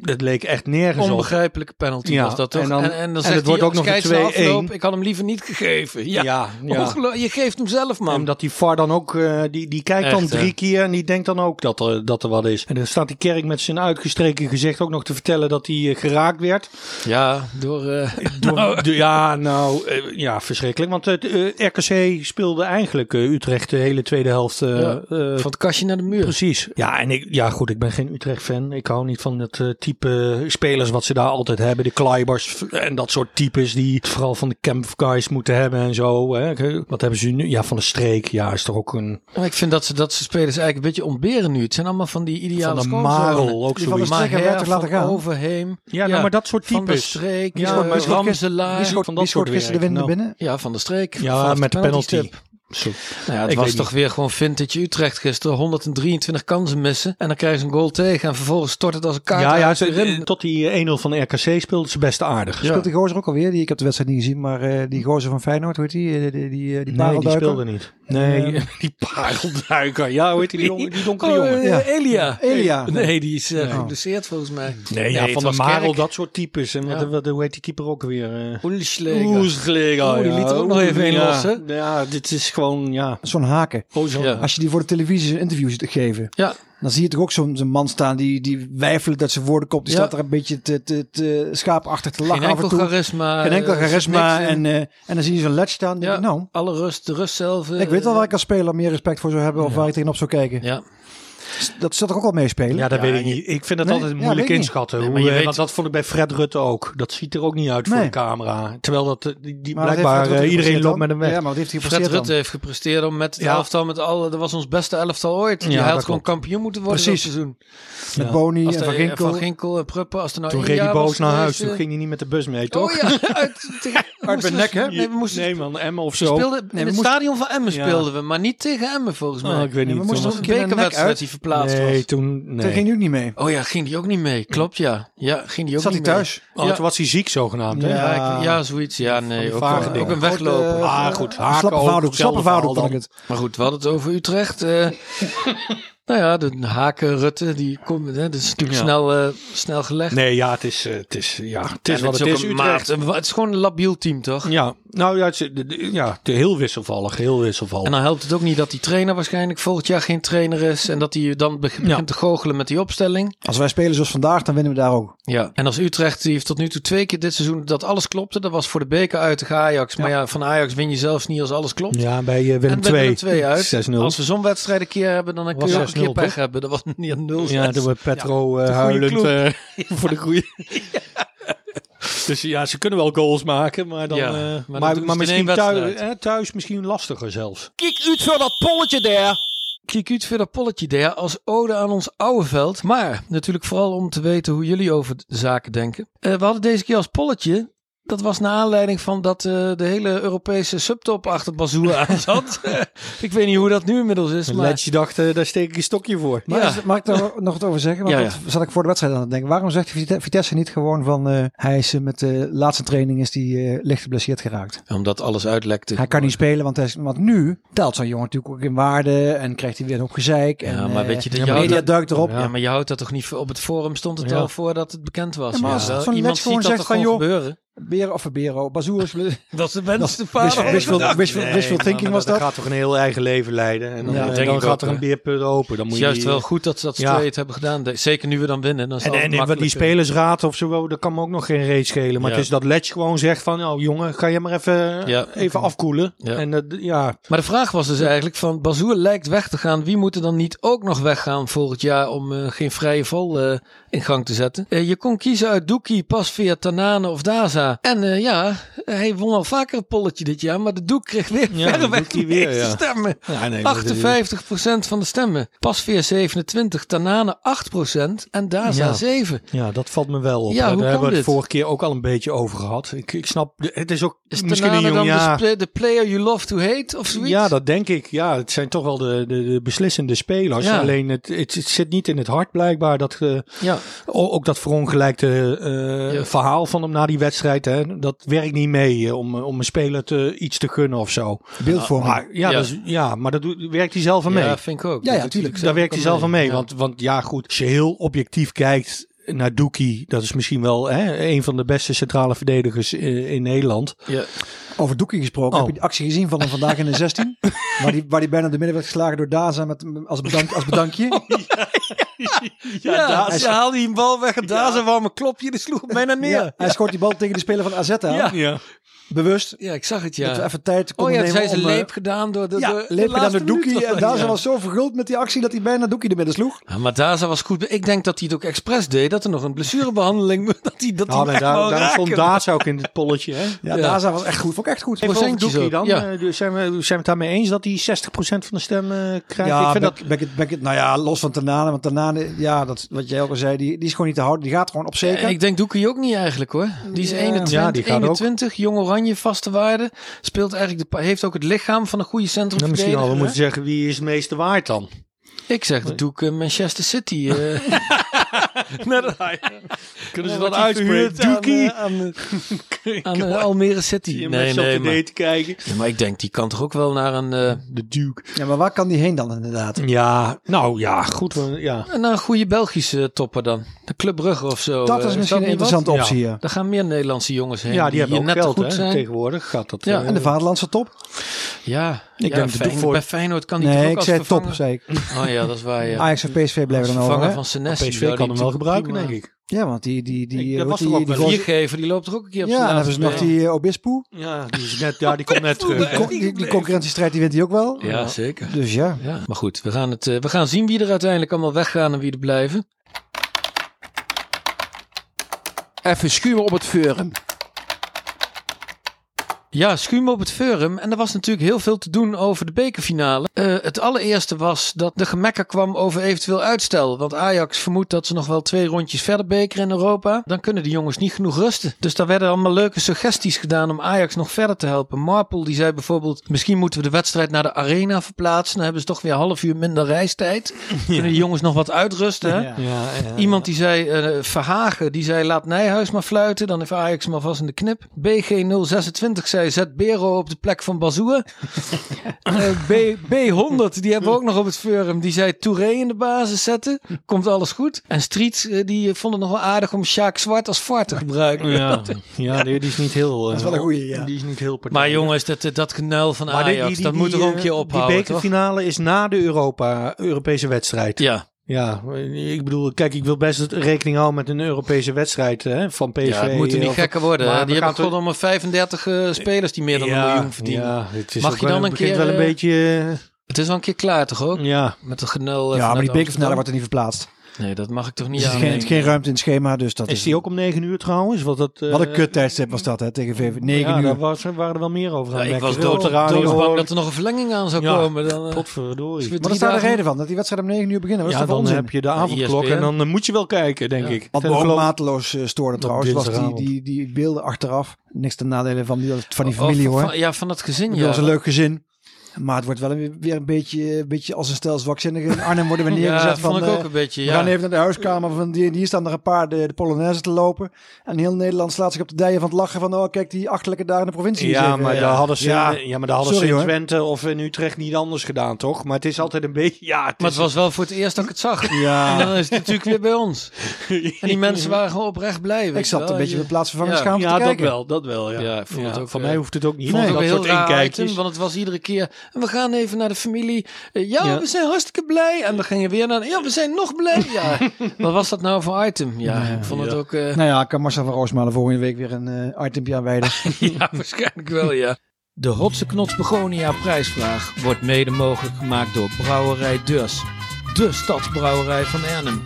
[SPEAKER 8] dat leek echt nergens op.
[SPEAKER 1] Onbegrijpelijke penalty
[SPEAKER 8] Ja,
[SPEAKER 1] was dat toch?
[SPEAKER 8] en dan- en het
[SPEAKER 1] zegt
[SPEAKER 8] wordt
[SPEAKER 1] hij, "Oh,
[SPEAKER 8] ook nog een
[SPEAKER 1] scheids na
[SPEAKER 8] 2-1.
[SPEAKER 1] afloop, Ik had hem liever niet gegeven. Ja,
[SPEAKER 8] Ja, ja.
[SPEAKER 1] Ongelo- je geeft hem zelf, man.
[SPEAKER 8] Omdat die VAR dan ook, eh, die, die kijkt dan
[SPEAKER 1] Echt, hè?
[SPEAKER 8] drie keer en die denkt dan ook dat er, dat er wat is. En dan staat die kerk met zijn uitgestreken gezicht ook nog te vertellen dat hij eh, geraakt werd.
[SPEAKER 1] Ja, door... eh,
[SPEAKER 8] Door- de- ja, nou, eh, ja, verschrikkelijk. Want het eh, RKC speelde eigenlijk eh, Utrecht de hele tweede helft. eh,
[SPEAKER 1] Ja,
[SPEAKER 8] eh,
[SPEAKER 1] van het kastje naar de muur.
[SPEAKER 8] precies. Ja, en ik, ja, goed, ik ben geen Utrecht-fan. Ik Moskou. Niet van het eh, type spelers wat ze daar altijd hebben. De Kleibers en dat soort types die het vooral van de camp guys moeten hebben en zo. Hè. eh, Wat hebben ze nu? Ja, van de streek. Ja, is toch ook een...
[SPEAKER 1] Maar Oh, ik vind dat ze dat ze spelers eigenlijk een beetje ontberen nu. Het zijn allemaal van die
[SPEAKER 8] Van
[SPEAKER 1] ideale
[SPEAKER 8] de
[SPEAKER 1] scorezonen.
[SPEAKER 8] Marel ook
[SPEAKER 7] Oh, Die van de
[SPEAKER 8] zoiets.
[SPEAKER 1] Maar
[SPEAKER 7] Strikker werd
[SPEAKER 1] her,
[SPEAKER 7] toch laten
[SPEAKER 1] van
[SPEAKER 7] gaan?
[SPEAKER 1] Overheem.
[SPEAKER 8] Ja, nou, maar dat soort
[SPEAKER 1] Van de
[SPEAKER 8] types.
[SPEAKER 1] streek.
[SPEAKER 8] Die
[SPEAKER 1] Ja,
[SPEAKER 8] schoot- die schoot
[SPEAKER 1] Ramselaar.
[SPEAKER 7] Wie schoot,
[SPEAKER 8] van
[SPEAKER 7] van
[SPEAKER 8] dat
[SPEAKER 7] wie
[SPEAKER 8] soort
[SPEAKER 7] schoot gisteren de
[SPEAKER 8] weer,
[SPEAKER 7] wind naar binnen?
[SPEAKER 8] nou.
[SPEAKER 1] Ja, van de streek.
[SPEAKER 8] Ja,
[SPEAKER 1] Vanaf
[SPEAKER 8] met
[SPEAKER 1] de
[SPEAKER 8] penalty.
[SPEAKER 1] tip.
[SPEAKER 8] Zo.
[SPEAKER 1] Nou ja,
[SPEAKER 8] Ik
[SPEAKER 1] het
[SPEAKER 8] weet
[SPEAKER 1] was
[SPEAKER 8] niet.
[SPEAKER 1] toch weer gewoon vintage Utrecht gisteren. 123 kansen missen. En dan krijgen ze een goal tegen. En vervolgens stort het als een kaart
[SPEAKER 8] Ja, ja,
[SPEAKER 1] uit de
[SPEAKER 8] ze-
[SPEAKER 1] rim.
[SPEAKER 8] tot die eh, 1-0 van de RKC speelden ze best aardig.
[SPEAKER 7] Speelt die gozer ook alweer? Die, ik heb de wedstrijd niet gezien, maar eh, die gozer van Feyenoord, hoe heet die? Eh, die, die, eh, die
[SPEAKER 8] Nee, die
[SPEAKER 7] parelduiker.
[SPEAKER 8] speelde niet. Nee, die parelduiker. Ja, hoe heet die, jongen, die donkere jongen?
[SPEAKER 1] eh,
[SPEAKER 7] Ja.
[SPEAKER 1] Elia.
[SPEAKER 7] Elia.
[SPEAKER 1] Nee, die is eh, geblesseerd volgens mij.
[SPEAKER 8] Nee, ja,
[SPEAKER 1] het
[SPEAKER 8] van de
[SPEAKER 1] was
[SPEAKER 8] Marel,
[SPEAKER 1] Kerk.
[SPEAKER 8] dat soort types. En wat,
[SPEAKER 1] Ja.
[SPEAKER 8] wat, hoe heet die keeper ook weer? eh?
[SPEAKER 1] Oelschläger.
[SPEAKER 8] Oesgelega.
[SPEAKER 1] Oeh, die liet er ook nog even in lossen.
[SPEAKER 8] Ja, dit is gewoon, ja.
[SPEAKER 7] Zo'n haken.
[SPEAKER 1] Ja.
[SPEAKER 7] Als je die voor de televisie een interview ziet geven,
[SPEAKER 1] Ja,
[SPEAKER 7] dan zie je toch ook zo'n zo'n man staan die, die wijfelt dat zijn woorden komt. Die
[SPEAKER 1] Ja.
[SPEAKER 7] staat er een beetje te, te, te schaapachtig te lachen
[SPEAKER 1] geen
[SPEAKER 7] af en
[SPEAKER 1] enkel
[SPEAKER 7] toe.
[SPEAKER 1] charisma.
[SPEAKER 7] Geen enkel
[SPEAKER 1] eh, er zit
[SPEAKER 7] charisma.
[SPEAKER 1] niks in.
[SPEAKER 7] En, eh, en dan zie je zo'n ledge staan. en denk
[SPEAKER 1] ja,
[SPEAKER 7] ik, nou,
[SPEAKER 1] alle rust, de rust zelf. eh,
[SPEAKER 7] ik weet wel waar ik als speler meer respect voor zou hebben of waar ik tegenop zou kijken.
[SPEAKER 1] Ja,
[SPEAKER 7] Dat zal toch ook wel meespelen?
[SPEAKER 8] Ja, dat
[SPEAKER 1] Ja,
[SPEAKER 8] weet ik
[SPEAKER 1] je-
[SPEAKER 8] niet. Ik vind dat
[SPEAKER 7] Nee,
[SPEAKER 8] altijd
[SPEAKER 7] ja,
[SPEAKER 8] moeilijk
[SPEAKER 7] weet ik niet.
[SPEAKER 8] inschatten.
[SPEAKER 1] Nee,
[SPEAKER 8] hoe,
[SPEAKER 1] maar je
[SPEAKER 8] eh,
[SPEAKER 1] weet-
[SPEAKER 8] want dat vond ik bij Fred Rutte ook. Dat ziet er ook niet uit voor
[SPEAKER 7] Nee.
[SPEAKER 8] de camera. Terwijl dat, eh, die, die
[SPEAKER 7] Maar wat heeft
[SPEAKER 8] blijkbaar
[SPEAKER 7] Fred Rutte
[SPEAKER 8] eh, iedereen
[SPEAKER 7] gepresteerd
[SPEAKER 8] loopt
[SPEAKER 7] dan?
[SPEAKER 8] met hem weg.
[SPEAKER 7] Ja, maar wat heeft hij
[SPEAKER 1] Fred
[SPEAKER 7] gepresteerd
[SPEAKER 1] Rutte
[SPEAKER 7] dan?
[SPEAKER 1] heeft gepresteerd om met het
[SPEAKER 8] Ja.
[SPEAKER 1] elftal, met alle, dat was ons beste elftal ooit.
[SPEAKER 8] Ja,
[SPEAKER 1] Ja, hij
[SPEAKER 8] dat
[SPEAKER 1] had gewoon
[SPEAKER 8] klopt.
[SPEAKER 1] kampioen moeten worden
[SPEAKER 7] Precies.
[SPEAKER 1] dit seizoen.
[SPEAKER 7] Met
[SPEAKER 8] Ja.
[SPEAKER 7] Boni
[SPEAKER 1] Als
[SPEAKER 7] en
[SPEAKER 1] de- eh,
[SPEAKER 7] Van Ginkel.
[SPEAKER 1] Van Ginkel en Pruppen. Als er nou
[SPEAKER 8] Toen
[SPEAKER 1] één
[SPEAKER 8] reed die
[SPEAKER 1] jaar
[SPEAKER 8] boos
[SPEAKER 1] was
[SPEAKER 8] naar
[SPEAKER 1] geweest,
[SPEAKER 8] huis. Toen
[SPEAKER 1] eh,
[SPEAKER 8] ging hij niet met de bus mee, toch? dus-
[SPEAKER 1] Oh ja, uit, tegen- moesten we- Nee, we moesten...
[SPEAKER 8] Nee, man, Emmen of
[SPEAKER 1] we
[SPEAKER 8] zo.
[SPEAKER 1] speelden, in het
[SPEAKER 8] moesten-
[SPEAKER 1] stadion van Emmen
[SPEAKER 8] Ja.
[SPEAKER 1] speelden we, maar niet tegen Emmen volgens mij.
[SPEAKER 8] Oh, ik weet niet.
[SPEAKER 7] we
[SPEAKER 8] toen
[SPEAKER 7] moesten
[SPEAKER 8] was-
[SPEAKER 7] ook
[SPEAKER 1] Een
[SPEAKER 7] keer naar NEC
[SPEAKER 1] bekerwedstrijd
[SPEAKER 7] uit.
[SPEAKER 1] die verplaatst
[SPEAKER 8] Nee,
[SPEAKER 1] was.
[SPEAKER 8] toen...
[SPEAKER 7] Daar
[SPEAKER 8] Nee.
[SPEAKER 7] ging nu niet mee.
[SPEAKER 1] Oh ja, ging die ook niet mee. Klopt, ja. Ja, ging die ook
[SPEAKER 7] Zat
[SPEAKER 1] niet
[SPEAKER 7] hij
[SPEAKER 1] mee.
[SPEAKER 7] thuis?
[SPEAKER 8] Oh,
[SPEAKER 1] Ja.
[SPEAKER 8] toen was hij ziek zogenaamd, hè?
[SPEAKER 1] Ja, ik- ja, zoiets. Ja, nee.
[SPEAKER 8] die
[SPEAKER 1] Ook,
[SPEAKER 8] vage
[SPEAKER 1] wel-
[SPEAKER 8] dingen.
[SPEAKER 1] ook een weglopen.
[SPEAKER 7] Grote,
[SPEAKER 8] Ah, goed. Haken
[SPEAKER 7] eh, slappe
[SPEAKER 8] ook,
[SPEAKER 7] vaardoek,
[SPEAKER 8] hetzelfde
[SPEAKER 7] slappe vaardoek
[SPEAKER 8] verhaal
[SPEAKER 7] vond ik het.
[SPEAKER 1] Maar goed, we hadden het over Utrecht. eh. nou ja, de haken Rutte, die komt. Hè, dat is natuurlijk
[SPEAKER 8] Ja.
[SPEAKER 1] snel, eh, snel gelegd.
[SPEAKER 8] Nee, ja, het is, eh, het is, ja, het is
[SPEAKER 1] En
[SPEAKER 8] wat het is.
[SPEAKER 1] ook een
[SPEAKER 8] Utrecht.
[SPEAKER 1] maat- een- het is gewoon een labiel team, toch?
[SPEAKER 8] Ja, nou ja, het is, de- de- ja, het is heel wisselvallig, heel
[SPEAKER 1] En
[SPEAKER 8] wisselvallig.
[SPEAKER 1] dan helpt het ook niet dat die trainer waarschijnlijk volgend jaar geen trainer is. En dat hij dan beg- begint
[SPEAKER 8] Ja.
[SPEAKER 1] te goochelen met die opstelling.
[SPEAKER 7] Als wij spelen zoals vandaag, dan winnen we daar ook.
[SPEAKER 1] Ja. En als Utrecht, die heeft tot nu toe twee keer dit seizoen dat alles klopte. Dat was voor de beker uit tegen Ajax. Maar ja, van Ajax win je zelfs niet als alles klopt.
[SPEAKER 8] Ja, bij eh,
[SPEAKER 1] En
[SPEAKER 8] Willem
[SPEAKER 1] bij Willem
[SPEAKER 8] 2.
[SPEAKER 1] 2 uit.
[SPEAKER 8] 6-0.
[SPEAKER 1] Als we zo'n wedstrijd een keer hebben, dan kun
[SPEAKER 8] Was
[SPEAKER 1] je ook een
[SPEAKER 8] 6-0,
[SPEAKER 1] keer pech
[SPEAKER 8] toch?
[SPEAKER 1] hebben. Dat was niet een 0
[SPEAKER 8] Ja, toen werd Petro eh, huilend eh, voor de goeie. Dus ja, ze kunnen wel goals maken, maar dan...
[SPEAKER 1] Ja,
[SPEAKER 8] eh,
[SPEAKER 1] maar dan
[SPEAKER 8] maar
[SPEAKER 1] doen ze
[SPEAKER 8] maar,
[SPEAKER 1] het in
[SPEAKER 8] misschien
[SPEAKER 1] één
[SPEAKER 8] thuis,
[SPEAKER 1] wedstrijd.
[SPEAKER 8] eh, thuis misschien lastiger zelfs.
[SPEAKER 9] Kijk uit voor dat polletje daar.
[SPEAKER 1] Kiek uit voor dat polletje daar als ode aan ons oude veld. Maar natuurlijk vooral om te weten hoe jullie over de zaken denken. Eh, we hadden deze keer als polletje. Dat was naar aanleiding van dat eh, de hele Europese subtop achter Bazoer aan zat. ik weet niet hoe dat nu inmiddels is. Maar
[SPEAKER 8] Letje dacht, eh, daar steek ik een stokje voor.
[SPEAKER 7] Maar
[SPEAKER 1] Ja.
[SPEAKER 7] is- mag ik daar nog wat over zeggen? Want
[SPEAKER 1] Ja,
[SPEAKER 7] dat zat ik voor de wedstrijd aan het denken. Waarom zegt Vite- Vitesse niet gewoon van eh, hij is eh, met de laatste training is die eh, licht geblesseerd geraakt.
[SPEAKER 1] Omdat alles uitlekte.
[SPEAKER 7] Hij kan niet spelen, want, hij is, want nu telt zo'n jongen natuurlijk ook in waarde en krijgt hij weer een hoop gezeik. En,
[SPEAKER 1] Ja, maar
[SPEAKER 7] eh,
[SPEAKER 1] weet je,
[SPEAKER 7] de
[SPEAKER 1] dat- ja,
[SPEAKER 7] media
[SPEAKER 1] dat-
[SPEAKER 7] duikt erop.
[SPEAKER 1] Ja, maar je houdt dat toch niet voor- op het forum stond het
[SPEAKER 8] Ja.
[SPEAKER 1] al voor dat het bekend was.
[SPEAKER 7] Ja, maar als zo'n
[SPEAKER 1] Iemand
[SPEAKER 7] letje gewoon
[SPEAKER 1] ziet dat
[SPEAKER 7] zegt
[SPEAKER 1] er
[SPEAKER 7] van,
[SPEAKER 1] gewoon
[SPEAKER 7] joh,
[SPEAKER 1] gebeuren. Nou,
[SPEAKER 7] Bero of Bero, Bazoer is
[SPEAKER 1] Dat is de wenste
[SPEAKER 7] wishful,
[SPEAKER 1] vader.
[SPEAKER 7] wishful, wishful, wishful thinking was dat.
[SPEAKER 8] gaat toch een heel eigen leven leiden. En dan,
[SPEAKER 1] Ja,
[SPEAKER 8] eh,
[SPEAKER 1] denk
[SPEAKER 8] dan
[SPEAKER 1] ik
[SPEAKER 8] gaat
[SPEAKER 1] ook,
[SPEAKER 8] er een
[SPEAKER 1] hè.
[SPEAKER 8] beerput open. Dan moet
[SPEAKER 1] Het is
[SPEAKER 8] je
[SPEAKER 1] juist
[SPEAKER 8] die-
[SPEAKER 1] wel goed dat ze dat z'n
[SPEAKER 8] Ja.
[SPEAKER 1] tweeën het hebben gedaan. De- Zeker nu we dan winnen. Dan zal
[SPEAKER 8] En,
[SPEAKER 1] het
[SPEAKER 8] en wat die
[SPEAKER 1] makkelijker.
[SPEAKER 8] spelersraad of zo, dat kan me ook nog geen reet schelen. Maar
[SPEAKER 1] Ja.
[SPEAKER 8] het is dat Letch gewoon zegt van, nou jongen, ga je maar even,
[SPEAKER 1] Ja.
[SPEAKER 8] even afkoelen.
[SPEAKER 1] Ja.
[SPEAKER 8] En dat, ja,
[SPEAKER 1] Maar de vraag was dus eigenlijk van Bazoer lijkt weg te gaan. Wie moet er dan niet ook nog weggaan volgend jaar om eh, geen vrije val eh, in gang te zetten? Eh, je kon kiezen uit Doekie, Pasveer, Tanane of Daza. En eh, ja, hij won al vaker een polletje dit jaar, maar de Doek kreeg weer
[SPEAKER 8] Ja,
[SPEAKER 1] verreweg
[SPEAKER 8] Doekie
[SPEAKER 1] de meeste
[SPEAKER 8] weer, ja.
[SPEAKER 1] stemmen.
[SPEAKER 8] ja nee, maar dit-
[SPEAKER 1] 58% van de stemmen. Pasveer 27, Tanane 8% en Daza
[SPEAKER 8] Ja.
[SPEAKER 1] 7.
[SPEAKER 8] Ja, dat valt me wel op.
[SPEAKER 1] Ja,
[SPEAKER 8] Daar
[SPEAKER 1] hoe
[SPEAKER 8] hebben
[SPEAKER 1] kan
[SPEAKER 8] we het
[SPEAKER 1] dit?
[SPEAKER 8] vorige keer ook al een beetje over gehad. Ik, ik snap, de- het is ook
[SPEAKER 1] Is
[SPEAKER 8] misschien een
[SPEAKER 1] Tanane
[SPEAKER 8] jong
[SPEAKER 1] dan de,
[SPEAKER 8] jaar.
[SPEAKER 1] spe- de player you love to hate of zoiets?
[SPEAKER 8] Ja, dat denk ik. Ja, het zijn toch wel de, de, de beslissende spelers.
[SPEAKER 1] Ja.
[SPEAKER 8] Alleen het, het, het zit niet in het hart blijkbaar. Dat, eh,
[SPEAKER 1] ja.
[SPEAKER 8] o- ook dat verongelijkte eh,
[SPEAKER 1] Ja.
[SPEAKER 8] verhaal van hem na die wedstrijd. Hè, dat werkt niet mee eh, om, eh, om een speler te, iets te gunnen of zo.
[SPEAKER 7] Beeldvorming.
[SPEAKER 8] Maar, ja,
[SPEAKER 1] Ja.
[SPEAKER 8] dat is- ja, maar dat doet, werkt hij zelf aan mee.
[SPEAKER 1] ja, vind ik ook.
[SPEAKER 7] Ja, ja,
[SPEAKER 1] Dat-
[SPEAKER 7] tuurlijk.
[SPEAKER 8] Daar werkt
[SPEAKER 1] kan
[SPEAKER 8] hij zelf aan mee.
[SPEAKER 1] Ja.
[SPEAKER 8] Want, want ja, goed, als je heel objectief kijkt naar Doekie, dat is misschien wel hè, een van de beste centrale verdedigers eh, in Nederland.
[SPEAKER 1] Ja.
[SPEAKER 7] Over Doekie gesproken.
[SPEAKER 8] Oh.
[SPEAKER 7] Heb je die actie gezien van hem vandaag in de 16? waar, die, waar die bijna op de midden werd geslagen door Daza met, als, bedank, als bedankje.
[SPEAKER 1] Ja,
[SPEAKER 7] hij
[SPEAKER 1] Daas,
[SPEAKER 7] is-
[SPEAKER 1] ja, haalde hij een bal weg en Daas een warme klopje, die sloeg hem bijna neer.
[SPEAKER 7] Ja,
[SPEAKER 1] Ja,
[SPEAKER 7] hij schoot die bal tegen de speler van AZ aan.
[SPEAKER 1] Ja.
[SPEAKER 8] Ja.
[SPEAKER 7] Bewust.
[SPEAKER 1] ik zag het,
[SPEAKER 7] Dat we
[SPEAKER 1] ja.
[SPEAKER 7] even tijd
[SPEAKER 1] Oh
[SPEAKER 7] konden
[SPEAKER 1] ja, toen
[SPEAKER 7] nemen
[SPEAKER 1] zijn ze
[SPEAKER 7] om, eh,
[SPEAKER 1] leep gedaan door de,
[SPEAKER 7] Ja,
[SPEAKER 1] door de
[SPEAKER 7] leep gedaan
[SPEAKER 1] laatste
[SPEAKER 7] door Doekie.
[SPEAKER 1] minuut.
[SPEAKER 7] En Daza
[SPEAKER 1] Ja.
[SPEAKER 7] was zo verguld met die actie dat hij bijna Doekie de midden sloeg.
[SPEAKER 1] Ja, maar Daza was goed. be- Ik denk dat hij het ook expres deed. Dat er nog een blessurebehandeling... Dat hij dat
[SPEAKER 8] Ja,
[SPEAKER 1] hij
[SPEAKER 8] maar
[SPEAKER 1] echt
[SPEAKER 8] daar,
[SPEAKER 1] wou
[SPEAKER 8] daar stond
[SPEAKER 1] raken.
[SPEAKER 8] Daas ook in het polletje. Hè?
[SPEAKER 1] Ja.
[SPEAKER 7] Ja, Daza was echt goed. Vond ik echt goed.
[SPEAKER 8] Even over
[SPEAKER 1] Procentjes
[SPEAKER 8] Doekie
[SPEAKER 1] ook,
[SPEAKER 8] dan.
[SPEAKER 1] ja.
[SPEAKER 8] Eh, dus zijn, we, zijn we het daarmee eens dat hij 60% van de stem eh, krijgt?
[SPEAKER 7] Ja,
[SPEAKER 8] ik vind
[SPEAKER 7] ben,
[SPEAKER 8] dat...
[SPEAKER 7] ben ik het- ben ik het- nou ja, los van Tanane. Want Tanane, ja, dat, wat jij ook al zei, die, die is gewoon niet te houden. Die gaat gewoon op zeker.
[SPEAKER 1] Ja, ik denk Doekie ook niet eigenlijk hoor. Die is
[SPEAKER 7] Ja.
[SPEAKER 1] 21,
[SPEAKER 8] Ja, die gaat ook.
[SPEAKER 1] 21 jong oranje, vaste waarde. Speelt eigenlijk de, pa- heeft ook het lichaam van een goede centrum.
[SPEAKER 8] Nou, misschien hadden we moeten zeggen wie is het meeste waard dan.
[SPEAKER 1] Ik zeg dat doe ik eh, Manchester City. eh.
[SPEAKER 8] Kunnen
[SPEAKER 1] ze dat uitspreken?
[SPEAKER 8] Doekie.
[SPEAKER 1] aan, aan eh, Almere City. Nee, nee, maar,
[SPEAKER 8] te kijken.
[SPEAKER 1] Ja, maar ik denk die kan toch ook wel naar een, eh,
[SPEAKER 8] De Duke.
[SPEAKER 7] Ja, maar waar kan die heen dan inderdaad?
[SPEAKER 8] Ja, nou ja, goed. we- Ja.
[SPEAKER 1] naar een goede Belgische topper dan. De Club Brugge of zo. eh,
[SPEAKER 7] Dat is misschien
[SPEAKER 1] niet
[SPEAKER 7] een interessante
[SPEAKER 1] wat?
[SPEAKER 7] optie
[SPEAKER 8] Ja.
[SPEAKER 7] hier.
[SPEAKER 1] Daar gaan meer Nederlandse jongens heen.
[SPEAKER 8] ja, die hebben
[SPEAKER 1] hier
[SPEAKER 8] ook
[SPEAKER 1] net
[SPEAKER 8] geld
[SPEAKER 1] goed
[SPEAKER 8] hè.
[SPEAKER 1] zijn.
[SPEAKER 8] Tegenwoordig gaat dat.
[SPEAKER 1] Ja,
[SPEAKER 8] eh,
[SPEAKER 7] En de vaderlandse top?
[SPEAKER 1] Ja,
[SPEAKER 8] Ik
[SPEAKER 1] ja,
[SPEAKER 8] denk dat
[SPEAKER 1] Feyenoord-
[SPEAKER 8] Doevoort-
[SPEAKER 1] bij Feyenoord kan die toch
[SPEAKER 7] Nee,
[SPEAKER 1] ook
[SPEAKER 7] ik
[SPEAKER 1] als
[SPEAKER 7] zei top,
[SPEAKER 1] vervanger-
[SPEAKER 7] zei ik.
[SPEAKER 1] Oh ja, dat is waar.
[SPEAKER 8] Ah,
[SPEAKER 1] Ja.
[SPEAKER 7] Ajax en PSV
[SPEAKER 1] Als
[SPEAKER 7] blijven dan over.
[SPEAKER 1] vervanger
[SPEAKER 7] hè?
[SPEAKER 1] van Senesi.
[SPEAKER 8] PSV
[SPEAKER 1] zou die
[SPEAKER 8] kan hem wel
[SPEAKER 1] natuurlijk
[SPEAKER 8] gebruiken,
[SPEAKER 1] prima-
[SPEAKER 8] denk ik.
[SPEAKER 7] Ja, want die... die,
[SPEAKER 8] Ik-
[SPEAKER 7] die,
[SPEAKER 8] dat
[SPEAKER 7] eh,
[SPEAKER 8] was
[SPEAKER 7] die,
[SPEAKER 8] toch ook
[SPEAKER 7] die
[SPEAKER 8] wel-
[SPEAKER 7] gozer-
[SPEAKER 1] Viergever, die loopt er ook een keer op
[SPEAKER 7] Ja, en
[SPEAKER 1] zijn
[SPEAKER 7] dan hebben
[SPEAKER 1] laatste
[SPEAKER 7] ze nog
[SPEAKER 1] been.
[SPEAKER 7] die eh, Obispo.
[SPEAKER 8] Ja, die, is net, ja, die komt net terug.
[SPEAKER 7] Con- die, die concurrentiestrijd die wint hij ook wel.
[SPEAKER 1] Ja, zeker.
[SPEAKER 7] Dus ja.
[SPEAKER 1] Ja, maar goed, we gaan, het, eh, we gaan zien wie er uiteindelijk allemaal weggaan en wie er blijven.
[SPEAKER 9] Even schuimen op het vuren.
[SPEAKER 1] Ja, schuim op het forum. En er was natuurlijk heel veel te doen over de bekerfinale. Eh, het allereerste was dat de gemekker kwam over eventueel uitstel. Want Ajax vermoedt dat ze nog wel twee rondjes verder bekeren in Europa. Dan kunnen de jongens niet genoeg rusten. Dus daar werden allemaal leuke suggesties gedaan om Ajax nog verder te helpen. Marple die zei bijvoorbeeld, misschien moeten we de wedstrijd naar de arena verplaatsen. Dan hebben ze toch weer een half uur minder reistijd. Kunnen de jongens nog wat uitrusten. Hè?
[SPEAKER 8] Ja, ja.
[SPEAKER 1] Iemand die zei, eh, Verhagen, die zei laat Nijhuis maar fluiten. Dan heeft Ajax maar vast in de knip. BG026 zei zet Bero op de plek van Bazoer. Eh, B, B100, die hebben we ook nog op het forum. Die zei Touré in de basis zetten. Komt alles goed. En Street, eh, die vond het nog wel aardig om Sjaak Zwart als VAR te gebruiken.
[SPEAKER 8] Ja, ja die, die is niet heel. eh,
[SPEAKER 7] Dat is wel een goeie, ja.
[SPEAKER 8] Die is niet heel partij.
[SPEAKER 1] Maar jongens, dat, eh, dat genuil van
[SPEAKER 8] Maar die-
[SPEAKER 1] Ajax,
[SPEAKER 8] die- die-
[SPEAKER 1] dat moet
[SPEAKER 8] die,
[SPEAKER 1] er ook een
[SPEAKER 8] eh,
[SPEAKER 1] keer ophouden,
[SPEAKER 8] Die bekerfinale is na de Europa, Europese wedstrijd.
[SPEAKER 1] toch? Ja,
[SPEAKER 8] Ja, ik bedoel, kijk, ik wil best rekening houden met een Europese wedstrijd hè, van PSV.
[SPEAKER 1] ja, het moet er niet
[SPEAKER 8] of-
[SPEAKER 1] gekker worden.
[SPEAKER 8] maar
[SPEAKER 1] hè.
[SPEAKER 8] we
[SPEAKER 1] Die hebben
[SPEAKER 8] gaan toch-
[SPEAKER 1] goddomme 35 eh, spelers die meer dan een miljoen verdienen.
[SPEAKER 8] Ja, het is
[SPEAKER 1] Mag
[SPEAKER 8] ook
[SPEAKER 1] je
[SPEAKER 8] wel-
[SPEAKER 1] dan een
[SPEAKER 8] begint
[SPEAKER 1] keer,
[SPEAKER 8] wel een
[SPEAKER 1] eh,
[SPEAKER 8] beetje...
[SPEAKER 1] Het is wel een keer klaar toch ook?
[SPEAKER 8] eh, Ja,
[SPEAKER 1] Met het genul.
[SPEAKER 7] Ja, maar die bekerfinale wordt er niet verplaatst.
[SPEAKER 1] Nee, dat mag ik toch niet
[SPEAKER 7] Er is
[SPEAKER 1] aan.
[SPEAKER 7] geen, geen ruimte in het schema, dus dat
[SPEAKER 8] is die ook om negen uur trouwens? Want dat, eh,
[SPEAKER 7] Wat een kut tijdstip was dat, hè, tegen VV. 9
[SPEAKER 8] Ja, daar
[SPEAKER 7] uur.
[SPEAKER 8] was, waren er wel meer over Oh,
[SPEAKER 1] Ja,
[SPEAKER 8] aan het
[SPEAKER 1] ik
[SPEAKER 8] mekken.
[SPEAKER 1] was
[SPEAKER 8] Heel
[SPEAKER 1] dood,
[SPEAKER 8] op de radio
[SPEAKER 1] doodsbang
[SPEAKER 8] hoor.
[SPEAKER 1] dat er nog een verlenging aan zou
[SPEAKER 8] Ja,
[SPEAKER 1] komen. Dan, eh,
[SPEAKER 8] oh, Potverdorie.
[SPEAKER 1] weer
[SPEAKER 7] Maar
[SPEAKER 1] drie
[SPEAKER 7] dat is daar de
[SPEAKER 1] dagen-
[SPEAKER 7] reden van, dat die wedstrijd om 9 uur beginnen. Dat is
[SPEAKER 8] Ja,
[SPEAKER 7] toch
[SPEAKER 8] dan
[SPEAKER 7] onzin?
[SPEAKER 8] heb je de avondklok
[SPEAKER 1] ESPN.
[SPEAKER 8] en dan eh, moet je wel kijken, denk
[SPEAKER 1] Ja.
[SPEAKER 8] ik.
[SPEAKER 7] Wat me
[SPEAKER 8] En ik
[SPEAKER 7] ook
[SPEAKER 8] geloof-
[SPEAKER 7] mateloos eh, stoorde trouwens, was die,
[SPEAKER 8] dinsdagavond. Oh,
[SPEAKER 7] die, die beelden achteraf. Niks ten nadele van die, van die
[SPEAKER 1] of
[SPEAKER 7] familie
[SPEAKER 1] van-
[SPEAKER 7] hoor.
[SPEAKER 1] ja, van dat gezin.
[SPEAKER 7] Het was
[SPEAKER 1] Ja.
[SPEAKER 7] een leuk gezin. Maar het wordt wel een- weer een beetje, eh, een beetje als een stel zwakzinnigen. In Arnhem worden we
[SPEAKER 1] Ja,
[SPEAKER 7] neergezet
[SPEAKER 1] dat
[SPEAKER 7] van...
[SPEAKER 1] vond ik ook
[SPEAKER 7] eh,
[SPEAKER 1] een beetje.
[SPEAKER 7] We gaan
[SPEAKER 1] Ja.
[SPEAKER 7] even naar de huiskamer. Van die, hier staan er een paar de, de Polonaise te lopen. En heel Nederland slaat zich op de dijen van het lachen. Van oh, kijk die achterlijke daar in de provincie. is
[SPEAKER 8] eh, Ja
[SPEAKER 7] even-
[SPEAKER 8] maar, daar hadden ze, ja.
[SPEAKER 7] Ja.
[SPEAKER 8] maar daar hadden
[SPEAKER 7] Sorry,
[SPEAKER 8] ze in
[SPEAKER 7] hoor.
[SPEAKER 8] Twente of in Utrecht niet anders gedaan, toch? Maar het is altijd een beetje... Ja, het
[SPEAKER 1] Maar
[SPEAKER 8] is-
[SPEAKER 1] het was wel voor het eerst dat ik het zag. En
[SPEAKER 7] Ja.
[SPEAKER 1] dan is het natuurlijk weer bij ons. En die mensen waren gewoon oprecht blij. weet
[SPEAKER 7] Ik
[SPEAKER 1] je
[SPEAKER 7] zat
[SPEAKER 1] wel.
[SPEAKER 7] een beetje
[SPEAKER 1] Je-
[SPEAKER 7] met plaatsvervangend
[SPEAKER 1] Ja.
[SPEAKER 7] schaamte
[SPEAKER 8] ja,
[SPEAKER 7] te
[SPEAKER 8] dat
[SPEAKER 7] kijken.
[SPEAKER 8] wel, dat wel. Ja,
[SPEAKER 1] Ja, ik vond het ook,
[SPEAKER 8] van
[SPEAKER 1] eh,
[SPEAKER 8] mij hoeft het ook niet.
[SPEAKER 1] Ik vond het ook
[SPEAKER 8] dat
[SPEAKER 1] een heel
[SPEAKER 8] soort
[SPEAKER 1] raar
[SPEAKER 8] inkijkjes.
[SPEAKER 1] item, want het was iedere keer... We gaan even naar de familie. Eh, ja,
[SPEAKER 8] Ja.
[SPEAKER 1] we zijn hartstikke blij. En dan ging je weer naar... Ja, we zijn nog blij. Ja. Wat was dat nou voor item? Ja, ik vond het
[SPEAKER 8] Ja.
[SPEAKER 1] ook... eh,
[SPEAKER 7] Nou ja, kan Marcel van Roosmalen volgende week weer een eh itempje aanwijden.
[SPEAKER 1] Ja, waarschijnlijk wel, ja. De Hotse Knots Begonia prijsvraag wordt mede mogelijk gemaakt door Brouwerij Dus. De stadsbrouwerij van Arnhem.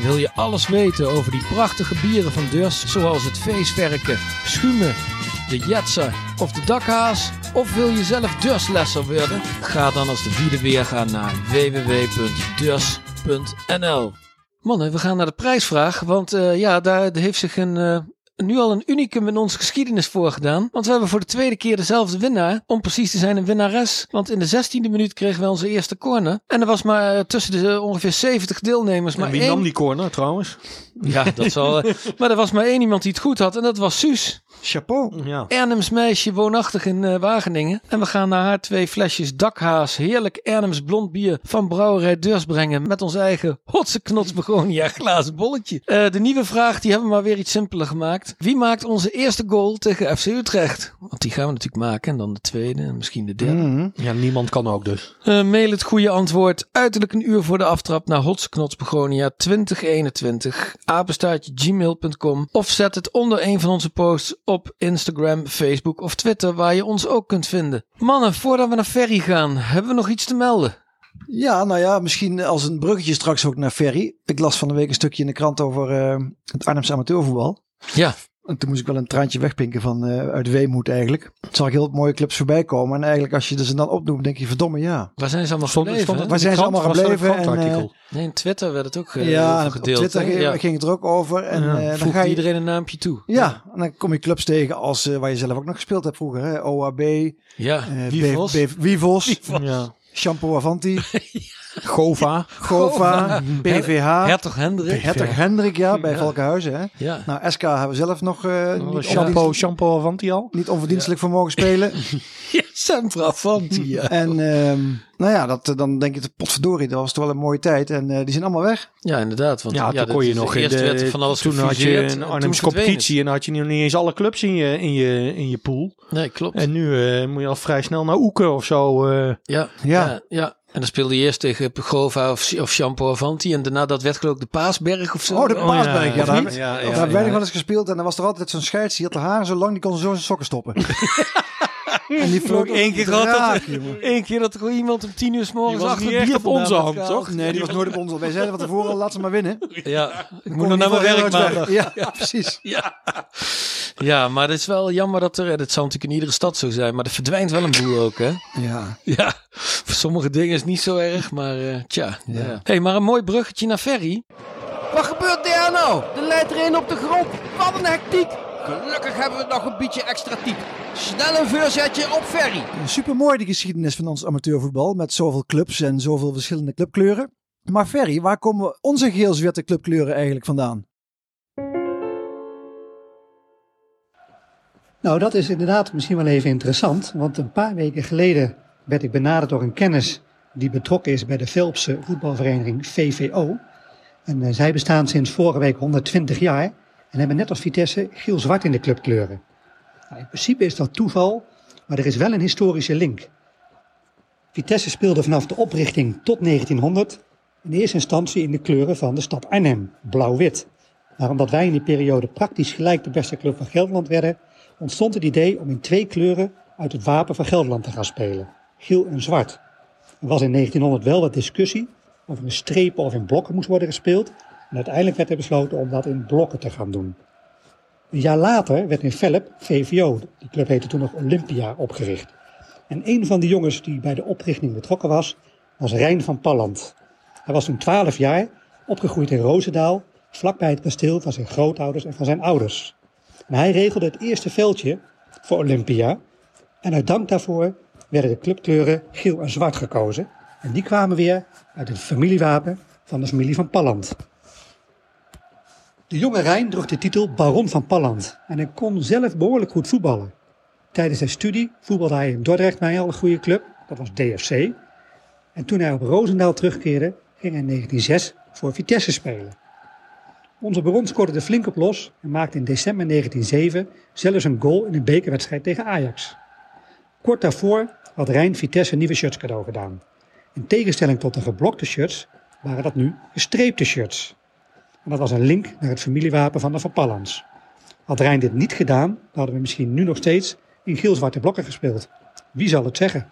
[SPEAKER 1] Wil je alles weten over die prachtige bieren van Dus, zoals het feestwerken, schuimen, de jetsen of de dakhaas? Of wil je zelf Duslessen worden? Ga dan als de wielen weer gaan naar www.dus.nl Mannen, we gaan naar de prijsvraag, want eh, ja, daar heeft zich een, eh, nu al een unicum in onze geschiedenis voorgedaan. Want we hebben voor de tweede keer dezelfde winnaar. Om precies te zijn, een winnares. Want in de 16e minuut kregen we onze eerste corner. En er was maar eh, tussen de eh, ongeveer 70 deelnemers
[SPEAKER 8] Maar
[SPEAKER 1] maar
[SPEAKER 8] wie
[SPEAKER 1] één...
[SPEAKER 8] nam die corner trouwens?
[SPEAKER 1] Ja, dat zal. eh, maar er was maar één iemand die het goed had en dat was Suus.
[SPEAKER 7] Chapeau.
[SPEAKER 8] Ja.
[SPEAKER 1] Ernems meisje, woonachtig in eh, Wageningen. En we gaan naar haar twee flesjes dakhaas, heerlijk Ernems blond bier van brouwerij Deurs brengen. Met ons eigen hotse knots begonia glazen bolletje. Eh, de nieuwe vraag, die hebben we maar weer iets simpeler gemaakt. Wie maakt onze eerste goal tegen FC Utrecht? Want die gaan we natuurlijk maken. En dan de tweede en misschien de derde.
[SPEAKER 8] ja, niemand kan ook dus.
[SPEAKER 1] Eh, mail het goede antwoord uiterlijk een uur voor de aftrap naar hotsknotsbegonia 2021 apenstaartje gmail.com of zet het onder een van onze posts op Instagram, Facebook of Twitter waar je ons ook kunt vinden. Mannen, voordat we naar Ferry gaan, hebben we nog iets te melden?
[SPEAKER 7] Ja, nou ja, misschien als een bruggetje straks ook naar Ferry. Ik las van de week een stukje in de krant over eh, het Arnhemse amateurvoetbal.
[SPEAKER 1] Ja,
[SPEAKER 7] En toen moest ik wel een traantje wegpinken van eh, uit weemoed eigenlijk. Toen zag ik heel mooie clubs voorbij komen. En eigenlijk als je ze dan opnoemt, denk je verdomme ja.
[SPEAKER 1] waar zijn ze allemaal
[SPEAKER 8] Stond-
[SPEAKER 1] gebleven?
[SPEAKER 8] stond
[SPEAKER 1] hè?
[SPEAKER 8] het-
[SPEAKER 7] Waar zijn ze
[SPEAKER 8] krant
[SPEAKER 7] allemaal
[SPEAKER 8] was er een
[SPEAKER 7] gebleven? En,
[SPEAKER 8] krantartikel.
[SPEAKER 7] eh,
[SPEAKER 1] Nee, in Twitter werd het ook eh, heel
[SPEAKER 7] ja,
[SPEAKER 1] veel
[SPEAKER 7] op
[SPEAKER 1] gedeeld.
[SPEAKER 7] Twitter
[SPEAKER 1] hè?
[SPEAKER 7] ging,
[SPEAKER 1] ja.
[SPEAKER 7] ging het er ook over. En
[SPEAKER 8] Ja,
[SPEAKER 7] eh, dan
[SPEAKER 1] Voegt
[SPEAKER 7] ga je...
[SPEAKER 1] iedereen een naampje toe.
[SPEAKER 7] Ja, en dan kom je clubs tegen als, eh, waar je zelf ook nog gespeeld hebt vroeger. Hè? OAB, eh,
[SPEAKER 1] Ja, wie
[SPEAKER 7] B-
[SPEAKER 1] was?
[SPEAKER 7] B- Wivos,
[SPEAKER 8] Ja.
[SPEAKER 7] Shampoo Avanti,
[SPEAKER 8] Gova.
[SPEAKER 7] Gova, PVH,
[SPEAKER 1] Hertog Hendrik.
[SPEAKER 7] Hertog Hendrik, ja, bij Valkenhuizen. Hè?
[SPEAKER 1] Ja.
[SPEAKER 7] Nou, SK hebben we zelf nog eh, niet,
[SPEAKER 8] Shampoo,
[SPEAKER 7] onverdienst-
[SPEAKER 8] shampoo Avanti al.
[SPEAKER 7] niet onverdienstelijk voor mogen spelen.
[SPEAKER 1] ja, Sempra Fanti, ja.
[SPEAKER 7] en ehm, nou ja, dat, eh, dan denk je, potverdorie, dat was toch wel een mooie tijd. En eh, die zijn allemaal weg.
[SPEAKER 1] Ja, inderdaad. Want,
[SPEAKER 8] Ja, toen
[SPEAKER 1] dat
[SPEAKER 8] kon je
[SPEAKER 1] is-
[SPEAKER 8] nog in
[SPEAKER 1] eerst werd
[SPEAKER 8] de,
[SPEAKER 1] van alles
[SPEAKER 8] toen had je
[SPEAKER 1] gefuseerd
[SPEAKER 8] een
[SPEAKER 1] en
[SPEAKER 8] Arnhemse
[SPEAKER 1] toen verdween
[SPEAKER 8] competitie en dan had je nog niet eens alle clubs in je, in je, in je pool.
[SPEAKER 1] het. Nee, klopt.
[SPEAKER 8] En nu eh, moet je al vrij snel naar Oeken of zo. eh.
[SPEAKER 1] ja, ja.
[SPEAKER 7] Ja.
[SPEAKER 1] ja, En dan speelde je eerst tegen Pegova of, of Shampoo Avanti. En daarna, dat werd geloof ik de Paasberg of zo.
[SPEAKER 7] Oh, de Paasberg, ja.
[SPEAKER 8] Of
[SPEAKER 7] daar
[SPEAKER 8] niet?
[SPEAKER 7] hebben daar hebben wij nog wel eens gespeeld. En dan was er altijd zo'n scheids, die had de haren zo lang, die kon ze zo in zijn sokken stoppen. en die vloog
[SPEAKER 1] Eén keer gehad
[SPEAKER 7] raak,
[SPEAKER 1] dat
[SPEAKER 7] jongen.
[SPEAKER 1] er, één keer dat er gewoon iemand om tien uur s morgens
[SPEAKER 8] was
[SPEAKER 1] achter
[SPEAKER 8] niet
[SPEAKER 1] het bier
[SPEAKER 8] echt op
[SPEAKER 1] vandaan
[SPEAKER 8] onze
[SPEAKER 1] werd
[SPEAKER 8] hand,
[SPEAKER 1] gehaald.
[SPEAKER 8] toch?
[SPEAKER 7] Nee, die was nooit op ons. Wij zeiden van tevoren, laat ze maar winnen. Ik
[SPEAKER 1] Ja, ik moet nog naar mijn werk maandag.
[SPEAKER 7] Ja, precies.
[SPEAKER 1] Ja. ja, maar het is wel jammer dat er... Dat zal natuurlijk in iedere stad zo zijn. Maar er verdwijnt wel een boel ook, hè?
[SPEAKER 7] Ja.
[SPEAKER 1] Ja, voor sommige dingen is het niet zo erg, maar eh, tja. Ja. hey, maar een mooi bruggetje naar Ferry.
[SPEAKER 9] Wat gebeurt daar nou? Er leidt er een op de grond. Wat een hectiek. Gelukkig hebben we nog een beetje extra tijd. Snel een voorzetje op Ferry.
[SPEAKER 7] Supermooi die geschiedenis van ons amateurvoetbal. Met zoveel clubs en zoveel verschillende clubkleuren. Maar Ferry, waar komen onze geel-zwarte clubkleuren eigenlijk vandaan?
[SPEAKER 10] Nou, dat is inderdaad misschien wel even interessant. Want een paar weken geleden werd ik benaderd door een kennis die betrokken is bij de Velpse voetbalvereniging VVO. En eh, zij bestaan sinds vorige week 120 jaar en hebben net als Vitesse geel-zwart in de clubkleuren. Nou, in principe is dat toeval, maar er is wel een historische link. Vitesse speelde vanaf de oprichting tot 1900 in eerste instantie in de kleuren van de stad Arnhem, blauw-wit. Maar omdat wij in die periode praktisch gelijk de beste club van Gelderland werden, ontstond het idee om in twee kleuren uit het wapen van Gelderland te gaan spelen: geel en zwart. Er was in 1900 wel wat discussie of er in strepen of in blokken moest worden gespeeld. En uiteindelijk werd er besloten om dat in blokken te gaan doen. Een jaar later werd in Velp VVO, die club heette toen nog Olympia, opgericht. En een van de jongens die bij de oprichting betrokken was, was Rijn van Palland. Hij was toen 12 jaar, opgegroeid in Roosendaal, vlakbij het kasteel van zijn grootouders en van zijn ouders. En hij regelde het eerste veldje voor Olympia. En uit dank daarvoor werden de clubkleuren geel en zwart gekozen. En die kwamen weer uit het familiewapen van de familie van Palland. De jonge Rijn droeg de titel Baron van Palland en hij kon zelf behoorlijk goed voetballen. Tijdens zijn studie voetbalde hij in Dordrecht bij al een goede club, dat was DFC. En toen hij op Roosendaal terugkeerde, ging hij in 1906 voor Vitesse spelen. Onze Baron scoorde er flink op los en maakte in december 1907 zelfs een goal in een bekerwedstrijd tegen Ajax. Kort daarvoor had Rijn Vitesse nieuwe shirts cadeau gedaan. In tegenstelling tot de geblokte shirts waren dat nu gestreepte shirts. En dat was een link naar het familiewapen van de Van Pallans. Had Rijn dit niet gedaan, dan hadden we misschien nu nog steeds in geel-zwarte blokken gespeeld. Wie zal het zeggen?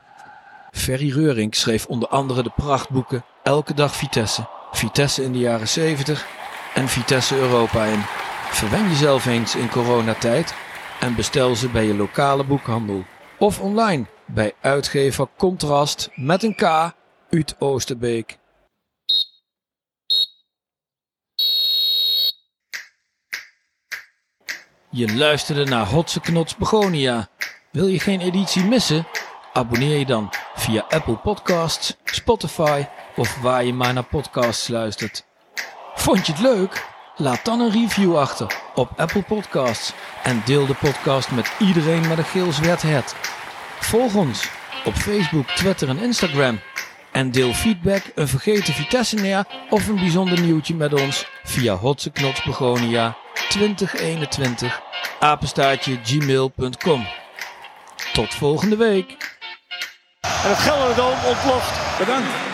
[SPEAKER 1] Ferry Reurink schreef onder andere de prachtboeken Elke dag Vitesse, Vitesse in de jaren 70 en Vitesse Europa in. Verwen jezelf eens in coronatijd en bestel ze bij je lokale boekhandel of online bij uitgever Contrast met een K uit Oosterbeek. Je luisterde naar Hotse Knots Begonia. Wil je geen editie missen? Abonneer je dan via Apple Podcasts, Spotify of waar je maar naar podcasts luistert. Vond je het leuk? Laat dan een review achter op Apple Podcasts en deel de podcast met iedereen met een geel zwart het. Volg ons op Facebook, Twitter en Instagram. En deel feedback, een vergeten Vitesse neer of een bijzonder nieuwtje met ons via hotseknots begonia 2021 apenstaartje gmail.com. Tot volgende week.
[SPEAKER 6] En het Gelderdoom ontploft.
[SPEAKER 3] Bedankt.